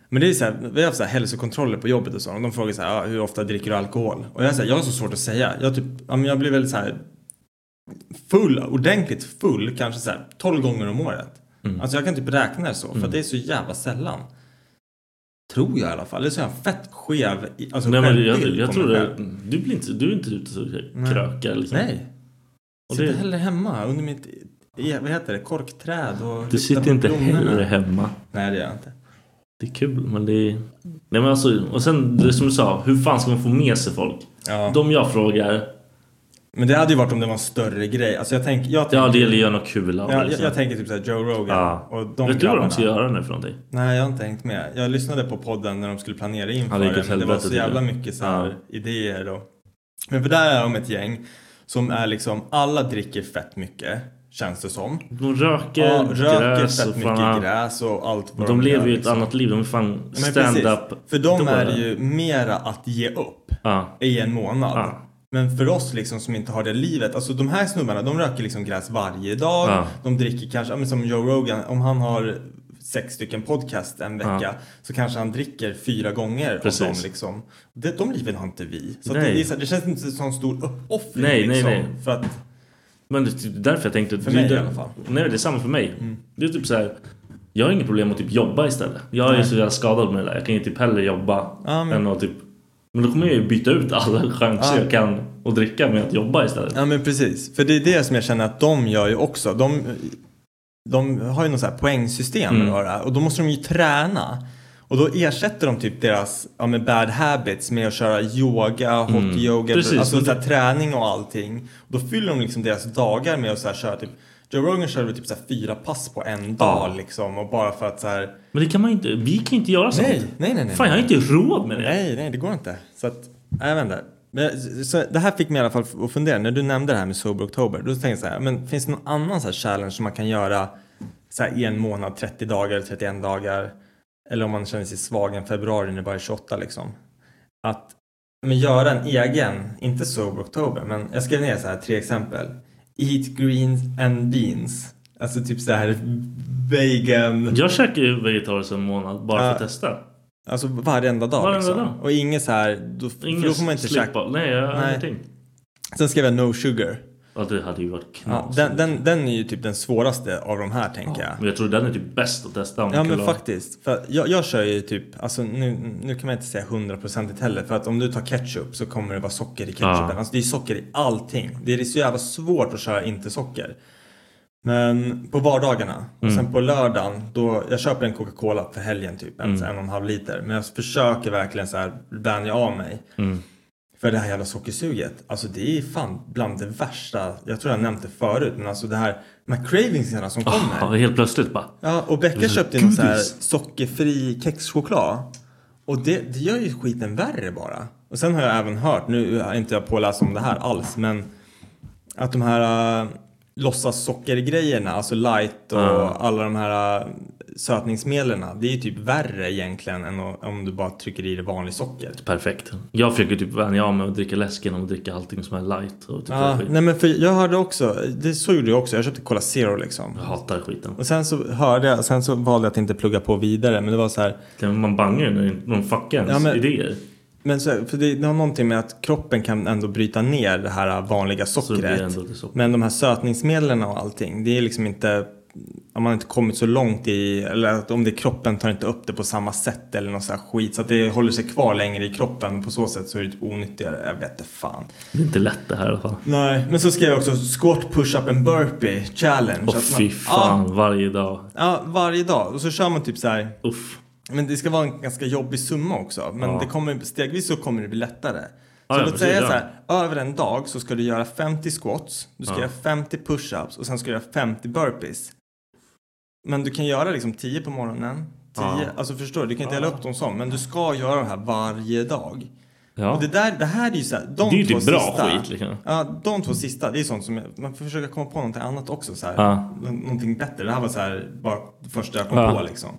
S4: Men det är så här, vi har haft så här hälsokontroller på jobbet och så. Och de frågar så här, ah, hur ofta dricker du alkohol? Och jag, är så här, jag har så svårt att säga. Jag, typ, ja, men jag blir väl så här full, ordentligt full, kanske så här 12 gånger om året.
S1: Mm.
S4: Alltså jag kan typ räkna det så, för att det är så jävla sällan. Tror jag i alla fall. Eller så är jag fett skev i- alltså,
S1: nej, men jag,
S4: självbild
S1: jag
S4: på
S1: tror
S4: mig
S1: det,
S4: själv.
S1: du, blir inte, du är inte ute och
S4: Nej.
S1: krökar liksom.
S4: Nej.
S1: Och
S4: sitter
S1: det-
S4: hellre hemma under mitt, i- vad heter det, korkträd och...
S1: Du
S4: luktar
S1: sitter
S4: på
S1: inte
S4: blommorna.
S1: hellre hemma.
S4: Nej det gör jag inte.
S1: Det är kul men det är... Nej men alltså, och sen det som du sa, hur fan ska man få med sig folk?
S4: Ja.
S1: De jag frågar,
S4: Men det hade ju varit om det var en större grej. Alltså jag tänker... Jag tänker
S1: ja det gäller att göra något kul av
S4: Ja, jag,
S1: liksom.
S4: jag tänker typ såhär Joe Rogan
S1: Ja.
S4: och de
S1: Vet du vad de
S4: grabbarna.
S1: ska göra nu för någonting?
S4: Nej, jag har inte hängt med. Jag lyssnade på podden när de skulle planera
S1: Ja,
S4: inför
S1: det
S4: det,
S1: gick åt
S4: men det var
S1: helvete,
S4: så jävla
S1: tycker jag.
S4: mycket så här idéer och... Men för där är de ett gäng som är liksom, alla dricker fett mycket, känns det som.
S1: De röker,
S4: Ja, röker
S1: gräs
S4: fett
S1: och
S4: mycket
S1: fan,
S4: gräs och allt
S1: De,
S4: vad gör,
S1: lever ju ett
S4: liksom.
S1: annat liv, de är fan
S4: Ja, men precis.
S1: stand-up
S4: För dem
S1: dårar.
S4: är det ju mera att ge upp
S1: Ja.
S4: i en månad.
S1: Mm. Ja.
S4: Men för oss liksom som inte har det livet, alltså de här snubbarna de röker liksom gräs varje dag.
S1: Ja.
S4: De dricker kanske, ja, men som Joe Rogan, om han har sex stycken podcast en vecka
S1: Ja.
S4: så kanske han dricker fyra gånger av
S1: Precis.
S4: dem liksom. De, de liven har inte vi. Så att det,
S1: Nej.
S4: det, är så här- det känns inte som en stor uppoffring
S1: Nej, nej,
S4: liksom.
S1: nej.
S4: För att,
S1: Men det är typ därför jag tänkte...
S4: För
S1: det är
S4: mig
S1: där-
S4: i alla fall. Mm.
S1: Nej, det är samma för mig. Det är typ så här. Jag har inget problem att typ jobba istället. Jag är ju så jävla skadad med det där. Jag kan ju typ hellre jobba
S4: Ja, men-
S1: än att typ... Men då kommer jag ju byta ut alla chanser
S4: Ja.
S1: jag kan och dricka med att jobba istället.
S4: ja men precis. För det är det som jag känner att de gör ju också. De, de har ju något så här poängsystem
S1: Mm.
S4: eller vad det är, och då måste de ju träna. Och då ersätter de typ deras ja, men bad habits med att köra yoga, hot
S1: Mm.
S4: yoga,
S1: Precis,
S4: alltså
S1: men
S4: så här,
S1: det-
S4: träning och allting. Och då fyller de liksom deras dagar med att så här, köra typ Joe Rogan körde väl typ så här, fyra pass på en dag liksom och bara för att så här
S1: Men det kan man ju inte... Vi kan ju inte göra sånt.
S4: Nej, nej, nej, nej.
S1: Fan, jag har inte råd med det.
S4: Nej, nej det går inte. Så att, nej, jag vet inte. Men, så- så, det här fick mig i alla fall att fundera. När du nämnde det här med Sober October, då tänkte jag så här, men finns det någon annan så här challenge som man kan göra så här, i en månad, 30 dagar, 31 dagar? Eller om man känner sig svag en februari när det bara är 28 liksom. Att men, göra en egen, inte Sober October, men jag skrev ner så här tre exempel. Eat greens and beans. Alltså typ så här vegan.
S1: Jag käkar ju vegetariskt en månad bara för att
S4: Ja.
S1: testa.
S4: Alltså varenda dag
S1: Varenda
S4: liksom.
S1: dag.
S4: Och inget så här, då, för då
S1: Ingen
S4: får man inte
S1: slip
S4: käka.
S1: up. Nej, jag har
S4: Nej.
S1: ingenting.
S4: Sen skrev jag No Sugar.
S1: Ja, det hade ju varit
S4: Ja,
S1: knas.
S4: den, den, den är ju typ den svåraste av de här tänker
S1: Men
S4: jag.
S1: jag tror den är typ bäst att testa. om
S4: Ja
S1: man
S4: men
S1: kan-
S4: faktiskt. För att jag, jag kör ju typ, alltså nu, nu kan man inte säga hundraprocentigt heller. För att om du tar ketchup så kommer det vara socker i ketchupen.
S1: Ja.
S4: Alltså det är socker i allting. Det är så jävla svårt att köra inte socker. Men på vardagarna
S1: Mm.
S4: och sen på lördagen då, jag köper en Coca-Cola för helgen typ, en,
S1: Mm.
S4: så en och en halv liter. Men jag försöker verkligen så här vänja av mig.
S1: Mm.
S4: För det här jävla sockersuget, alltså det är fan bland det värsta, jag tror jag nämnt det förut, men alltså det här, de här cravingsarna som kommer.
S1: Ja, helt plötsligt bara.
S4: Ja, och Becka
S1: Alltså,
S4: köpte en så här
S1: godis.
S4: sockerfri kexchoklad. Och det, det gör ju skiten värre bara. Och sen har jag även hört, nu är inte jag påläst om det här alls, men att de här äh, låtsas sockergrejerna, alltså light och
S1: Ja.
S4: alla de här äh, sötningsmedlen, det är ju typ värre egentligen än o- om du bara trycker i det vanligt socker.
S1: Perfekt. Jag försöker typ vänja av mig att dricka läsk genom att dricka allting som är light. Och typ
S4: Ja,
S1: skit.
S4: Ah, nej men för jag hörde också, det så gjorde jag också, jag köpte Cola Zero liksom.
S1: Jag hatar skiten.
S4: Och sen så hörde jag, sen så valde jag att inte plugga på vidare, men det var så här,
S1: Man bangar ju när de fuckar ens
S4: Ja, men-
S1: idéer.
S4: Men så, för det, det har någonting med att kroppen kan ändå bryta ner det här vanliga
S1: Så det blir
S4: sockret.
S1: ändå till socker.
S4: Men de här sötningsmedlen och allting, det är liksom inte... Om man inte kommit så långt i, eller att om det är kroppen tar inte upp det på samma sätt eller någon sån här skit. Så att det håller sig kvar längre i kroppen och på så sätt så är det typ onyttigare. Jag vet inte fan.
S1: Det är inte lätt det här i alla fall.
S4: Nej, men så skrev jag också squat, push-up and burpee challenge.
S1: Åh
S4: Att man- Ah.
S1: fy fan, varje dag.
S4: Ja, ja, varje dag. Och så kör man typ så här
S1: Uff.
S4: men det ska vara en ganska jobbig summa också. Men det kommer, stegvis så kommer det bli lättare.
S1: Ja,
S4: Så
S1: ja,
S4: låt
S1: precis,
S4: säga
S1: ja.
S4: så här, över en dag så ska du göra 50 squats, du ska göra 50 push-ups och sen ska du göra 50 burpees. Men du kan göra liksom 10 på morgonen, 10, alltså förstår du, du kan inte dela upp dem som, men du ska göra de här varje dag.
S1: Ja.
S4: Och det, där, det här är ju så här, de
S1: Det är ju
S4: två
S1: typ bra
S4: sista,
S1: skit, liksom.
S4: Ja, de två sista, det är sånt som, jag- man får försöka komma på någonting annat också så här.
S1: Ja.
S4: Nå- Någonting bättre, det här var så här, bara det första jag kom
S1: Ja.
S4: på liksom.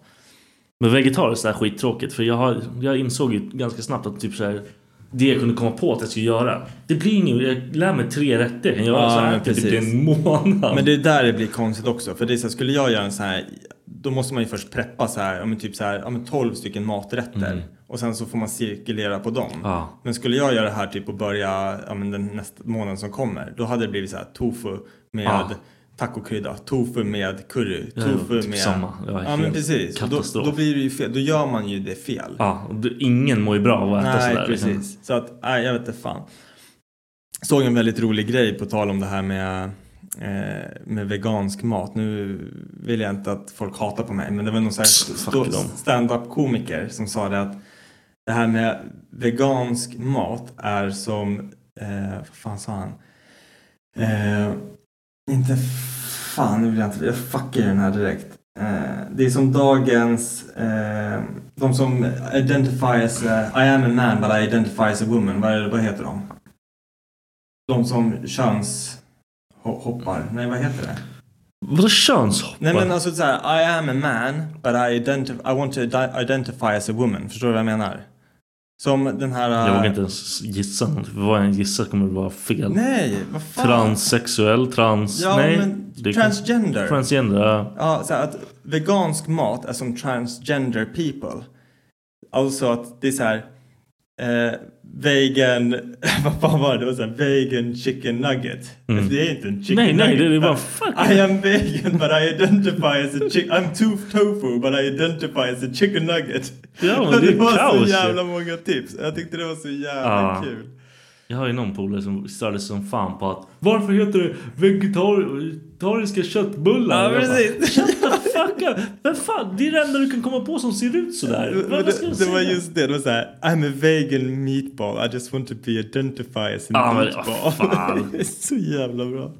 S1: Men vegetariskt är skittråkigt för jag, har, jag insåg ju ganska snabbt att typ så här, det jag kunde komma på att jag skulle göra. Det blir inget, jag lär mig tre rätter. Jag kan göra
S4: Ja,
S1: så här
S4: men
S1: till typ
S4: Ah, precis.
S1: en månad.
S4: Men det är där det blir konstigt också. För det är så här, skulle jag göra en sån här, då måste man ju först preppa så här, ja, men typ så här, ja, men 12 stycken maträtter. Och sen så får man cirkulera på dem.
S1: Mm. Ja.
S4: Men skulle jag göra det här typ och börja ja, men den nästa månaden som kommer, då hade det blivit så här tofu med
S1: Ja.
S4: tacokrydda, tofu med curry,
S1: Ja,
S4: tofu
S1: typ
S4: med...
S1: samma. Ja,
S4: Ja,
S1: helt
S4: men precis. Och Då,
S1: katastrof.
S4: då blir det ju fel. Då gör man ju det fel.
S1: Ja, och du- ingen mår ju bra av att äta
S4: Nej,
S1: sådär. liksom.
S4: precis. Så att, nej, jag vet inte fan. Såg en väldigt rolig grej på tal om det här med, eh, med vegansk mat. Nu vill jag inte att folk hatar på mig, men det var någon sån här
S1: Fuck
S4: st-
S1: dem.
S4: stand-up komiker som sa det att det här med vegansk mat är som, eh, vad fan sa han? Eh, inte fan, nu vill jag inte, jag fuckar den här direkt. Eh, det är som dagens, eh, de som identify as, eh, I am a man but I identify as a woman, vad, är, det- vad heter de? De som könshoppar, nej vad heter det?
S1: Vadå könshoppar?
S4: Nej men alltså så här, I am a man but I, identif- I want to ide- identify as a woman, förstår du vad jag menar? Som den här... eh,
S1: Jag vågar inte ens gissa. Vad jag än gissar kommer det vara fel.
S4: Nej, vad fan?
S1: Transsexuell, trans...
S4: Ja,
S1: nej.
S4: men
S1: det-
S4: transgender.
S1: Transgender, ja.
S4: Ja, så här att vegansk mat är som transgender people. Alltså att det är så här eh, vegan, vad fan var det? Det var så här vegan chicken nugget.
S1: Mm.
S4: Det är inte en chicken
S1: Nej,
S4: nugget.
S1: nej, det är bara fuck.
S4: I am vegan but I identify as a chicken, I'm tooth tofu but I identify as a chicken nugget.
S1: Ja, men
S4: Och
S1: det är
S4: var
S1: kaos ju. Ah.
S4: så jävla många tips. Jag tyckte det var så jävla
S1: Ja.
S4: kul.
S1: Jag har ju någon polare som störde sig som fan på att Varför heter det vegetar- vegetariska köttbullar?
S4: Ja,
S1: Jag bara,
S4: precis.
S1: Shut the fuck up! Vem fan, det är det enda du kan komma på som ser ut sådär.
S4: Men
S1: Vad- vad ska jag
S4: Det, det var
S1: säga?
S4: just det, det var såhär I'm a vegan meatball, I just want to be identified as a
S1: Ja, Ah, men-
S4: meatball.
S1: vad fan.
S4: det är så jävla bra.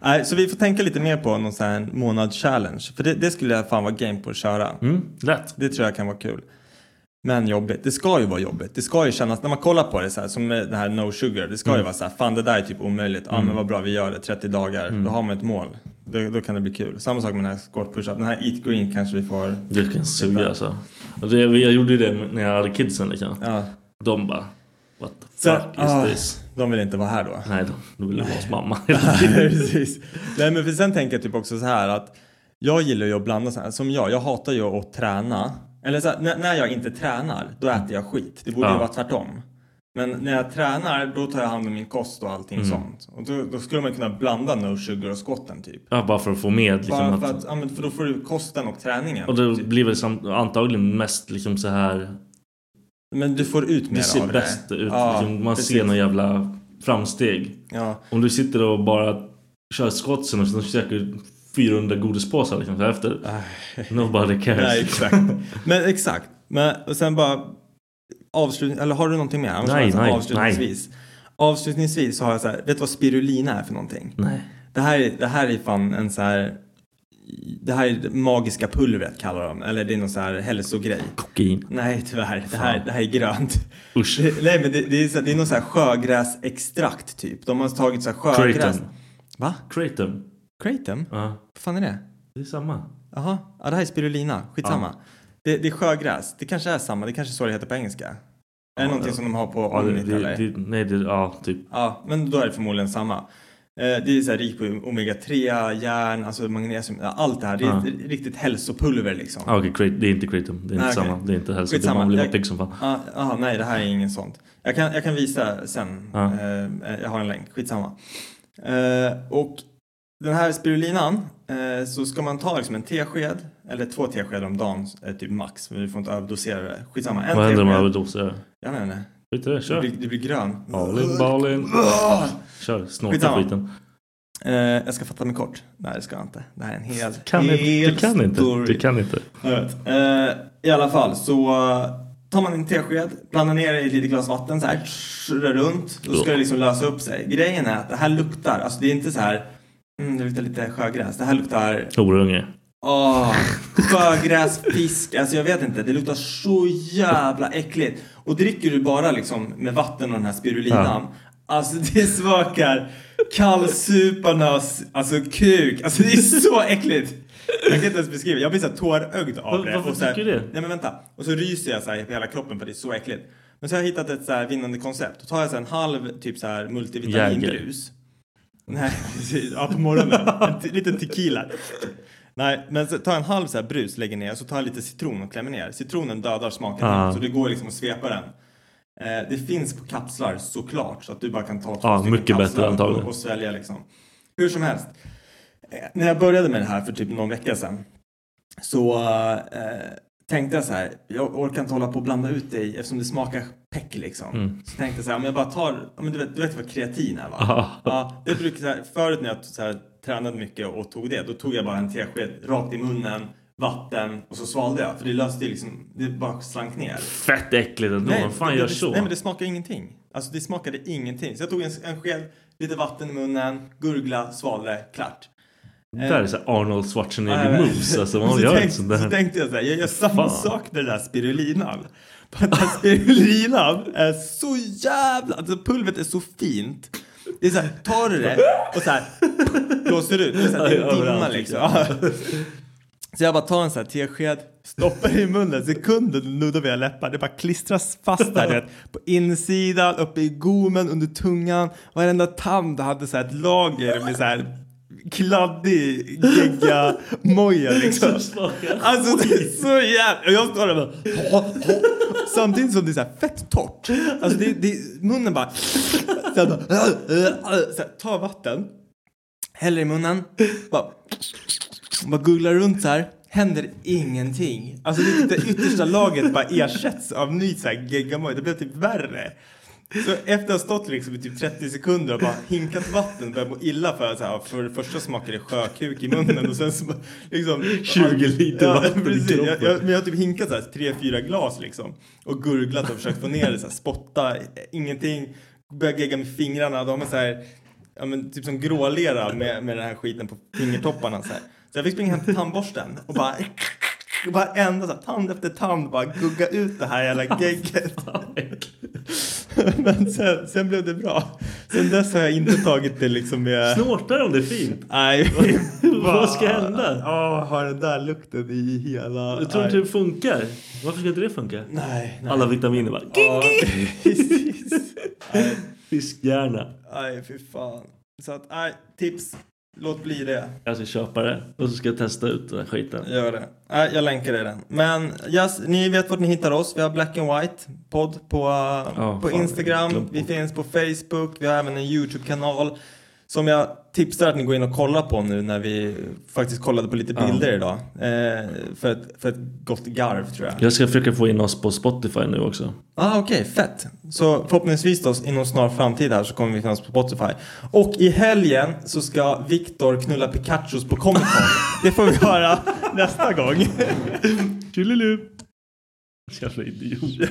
S4: Nej, så vi får tänka lite mer på någon sån här månad-challenge. För det, det skulle jag fan vara game på att köra.
S1: Mm, lätt.
S4: Det tror jag kan vara kul. Men jobbigt. Det ska ju vara jobbigt. Det ska ju kännas, när man kollar på det så här, som med det här No Sugar. Det ska ju vara så här, fan det där är typ omöjligt. Ja men vad bra, vi gör det 30 dagar. Då har man ett mål. Då, då kan det bli kul. Samma sak med den här squat push-up. Den här Eat Green kanske vi får...
S1: Det kan suga alltså. Och det, jag gjorde ju det när jag hade kidsen liksom.
S4: Ja.
S1: De bara What the fuck
S4: Så-
S1: is
S4: ah,
S1: this?
S4: De vill inte vara här då.
S1: Nej, de, de ville vara hos mamma.
S4: Nej, precis. Nej, men för sen tänker jag typ också så här att jag gillar ju att blanda så här. Som jag, jag hatar ju att träna. Eller så här, när, när jag inte tränar, då äter jag skit. Det borde
S1: Ja.
S4: ju vara tvärtom. Men när jag tränar, då tar jag hand om min kost och allting
S1: Mm.
S4: sånt. Och då, då skulle man kunna blanda no sugar och skotten typ.
S1: ja, bara för att få med liksom
S4: Bara
S1: att...
S4: för, att, ja, men för då får du kosten och träningen.
S1: Och det
S4: typ.
S1: blir väl sam, antagligen mest liksom så här
S4: Men du får ut mer
S1: Det ser
S4: av
S1: bäst
S4: det.
S1: ut.
S4: Ja,
S1: liksom, man
S4: precis.
S1: ser någon jävla framsteg.
S4: Ja,
S1: Om du sitter och bara kör skotsen och sen käkar 400 godispåsar liksom så här efter. Nobody cares.
S4: nej exakt. men exakt. Men och sen bara avslutning, eller har du någonting mer? Annars
S1: Nej,
S4: har jag så här
S1: nej,
S4: avslutningsvis. Avslutningsvis så har jag så här, vet du vad spirulina är för någonting?
S1: Nej.
S4: Det här, är- det här är fan en så här, det här är det magiska pulvret kallar de, eller det är någon så här hälsogrej.
S1: Kokain.
S4: Nej tyvärr, det här,
S1: Fan.
S4: det här är grönt.
S1: Usch.
S4: Det, nej men det, det, är, så- det är någon så här sjögräsextrakt typ. De har tagit så här sjögräs.
S1: Kratom.
S4: Va?
S1: Kratom.
S4: Kratom?
S1: Ja.
S4: Vad fan är det?
S1: Det är samma.
S4: Jaha, ja, det här är spirulina. Skitsamma. Det, det är sjögräs. Det kanske är samma. Det kanske är så det heter på engelska. Är det någonting som de har på
S1: Ja, det,
S4: Omnit
S1: det,
S4: eller?
S1: det, nej, det, ja, typ.
S4: Ja, men då är det förmodligen samma. Eh, Det är så här rikt på omega-3, järn, alltså magnesium, ja, allt det här. Det är
S1: Ja.
S4: ett riktigt hälsopulver liksom.
S1: Ah, okej, krat- det är inte kratom. Det är inte
S4: Nej, okej.
S1: samma. Det är inte hälsa. Det är
S4: Skitsamma.
S1: man blir bara
S4: Jag-
S1: pigg som fan.
S4: Ja, ja, Ah, nej, det här är inget sånt. Jag kan, jag kan visa sen.
S1: Ja.
S4: Eh, jag har en länk, skitsamma. Eh, och den här spirulinan eh, så ska man ta liksom en tesked eller två teskedar om dagen, eh, typ max, men du får inte överdosera det. Skitsamma, en
S1: Vad händer om jag
S4: tesked.
S1: överdoser?
S4: Jag vet inte.
S1: Skit i det,
S4: Du
S1: kör.
S4: blir, du blir grön.
S1: Balin, balin.
S4: Ah!
S1: Kör, snorta
S4: Skitsamma.
S1: skiten.
S4: Eh, jag ska fatta mig kort. Nej, det ska jag inte. Det här är en hel,
S1: Kan
S4: hel
S1: inte, du kan inte.
S4: story.
S1: Du kan inte.
S4: Jag vet. Eh, I alla fall så eh, tar man en tesked, blandar ner det i ett litet glas vatten så här, tsch, rör runt. Då ska det liksom lösa upp sig. Grejen är att det här luktar, alltså det är inte så här, mm, det luktar lite sjögräs. Det här luktar,
S1: Horunge.
S4: åh, sjögräs, fisk, alltså jag vet inte. Det luktar så jävla äckligt. Och dricker du bara liksom med vatten och den här spirulinan, alltså det smakar kallsuparnas, alltså kuk, alltså det är så äckligt. Jag kan inte ens beskriva. Jag blir så här tårögd av
S1: Var-
S4: det.
S1: varför
S4: Och så här,
S1: tycker du det?
S4: Nej men vänta. Och så ryser jag så här på hela kroppen för det är så äckligt. Men så har jag hittat ett så här vinnande koncept. Då tar jag så här en halv typ så här multivitaminbrus. Nej, precis. Ja, på morgonen. En t- liten tequila. Nej, men så tar jag en halv så här brus, lägger ner, så tar jag lite citron och klämmer ner. Citronen dödar smaken,
S1: Ah.
S4: så det går liksom att svepa den. Eh, det finns på kapslar såklart, så att du bara kan ta två
S1: Ja,
S4: stycken
S1: mycket bättre
S4: kapslar och-
S1: antagligen.
S4: och svälja liksom. Hur som helst. Eh, när jag började med det här för typ någon vecka sedan så eh, tänkte jag så här, jag orkar inte hålla på och blanda ut det i, eftersom det smakar peck liksom.
S1: Mm.
S4: Så tänkte jag så här, om jag bara tar, ja, men du, vet, du vet vad kreatin är va?
S1: Ja.
S4: Ja, det brukar så här, förut när jag så här, tränade mycket och tog det, då tog jag bara en tesked rakt i munnen, vatten och så svalde jag. För det löste ju liksom, det bara slank ner.
S1: Fett äckligt ändå. Vad fan
S4: det,
S1: gör
S4: det,
S1: så?
S4: Nej men det smakar ingenting. Alltså det smakade ingenting. Så jag tog en, en sked, lite vatten i munnen, gurgla, svalde, klart.
S1: Det där är så här Arnold Schwarzenegger
S4: Nej, men-
S1: moves. Alltså, man
S4: så
S1: gör
S4: tänkte,
S1: inte sånt
S4: Så
S1: där.
S4: tänkte jag så här, jag gör samma
S1: Fan.
S4: sak med den där spirulinan. För att Den här spirulinan är så jävla, alltså pulvret är så fint. Det är så här, tar du det och så här blåser ut, det är så här, det är en
S1: Ja, överallt,
S4: dimma liksom. Ja. Så jag bara tar en sån här tesked, stoppar i munnen, sekunden nuddar mina läppar, det bara klistras fast där du vet. På insidan, uppe i gommen, under tungan, varenda tand hade så här ett lager med så här kladdig gegga moja liksom. Alltså det är så jävla... Och jag står där och bara... Samtidigt som det är så här fett torrt. Alltså det, det, munnen bara... Så här, bara Äh, så här, ta vatten, häller i munnen, bara, bara googlar runt så här. Händer ingenting. Alltså det, det yttersta laget bara ersätts av ny så här geggamoj. Det blev typ värre. Så efter att ha stått liksom i typ 30 sekunder och bara hinkat vatten börjar må illa för att så här, för det första smakar det sjökuk i munnen och sen så bara, liksom
S1: 20 liter vatten i
S4: precis.
S1: kroppen.
S4: Jag, jag, men jag har typ hinkat så här tre, fyra glas liksom och gurglat och försökt få ner det så här, spotta, eh, ingenting, börjat gegga med fingrarna, då har man så här, ja men typ som grålera med, med den här skiten på fingertopparna så här. Så jag fick springa hem till tandborsten och bara Varenda så här, tand efter tand bara gugga ut det här jävla gegget. Men sen, sen blev det bra. Sen dess har jag inte tagit det liksom med...
S1: Snortar om det är fint?
S4: Nej.
S1: Vad ska hända?
S4: Ja, har den där lukten i hela...
S1: Jag tror inte det funkar. Varför ska inte det funka?
S4: Nej, nej.
S1: Alla vitaminer bara...
S4: Ja, precis. Nej,
S1: Fiskhjärna.
S4: Nej, fy fan. Så att, nej, tips. Låt bli det.
S1: Jag ska köpa det och så ska jag testa ut den här skiten.
S4: Gör det. Nej, jag länkar i den. Men yes, ni vet vart ni hittar oss. Vi har Black and White podd på, uh,
S1: Ja,
S4: på
S1: fan, jag
S4: Instagram.
S1: glömde
S4: Vi
S1: bort.
S4: finns på Facebook. Vi har även en YouTube-kanal som jag tipsar att ni går in och kollar på nu när vi faktiskt kollade på lite bilder idag. Eh, för, ett, för ett gott garv tror jag.
S1: Jag ska försöka få in oss på Spotify nu också.
S4: Ah, Okej, fett. Så förhoppningsvis då, inom snar framtid här så kommer vi finnas på Spotify. Och i helgen så ska Viktor knulla Pikachus på Comic Con. Det får vi höra nästa gång.
S1: Tjolilu! Jävla idiot.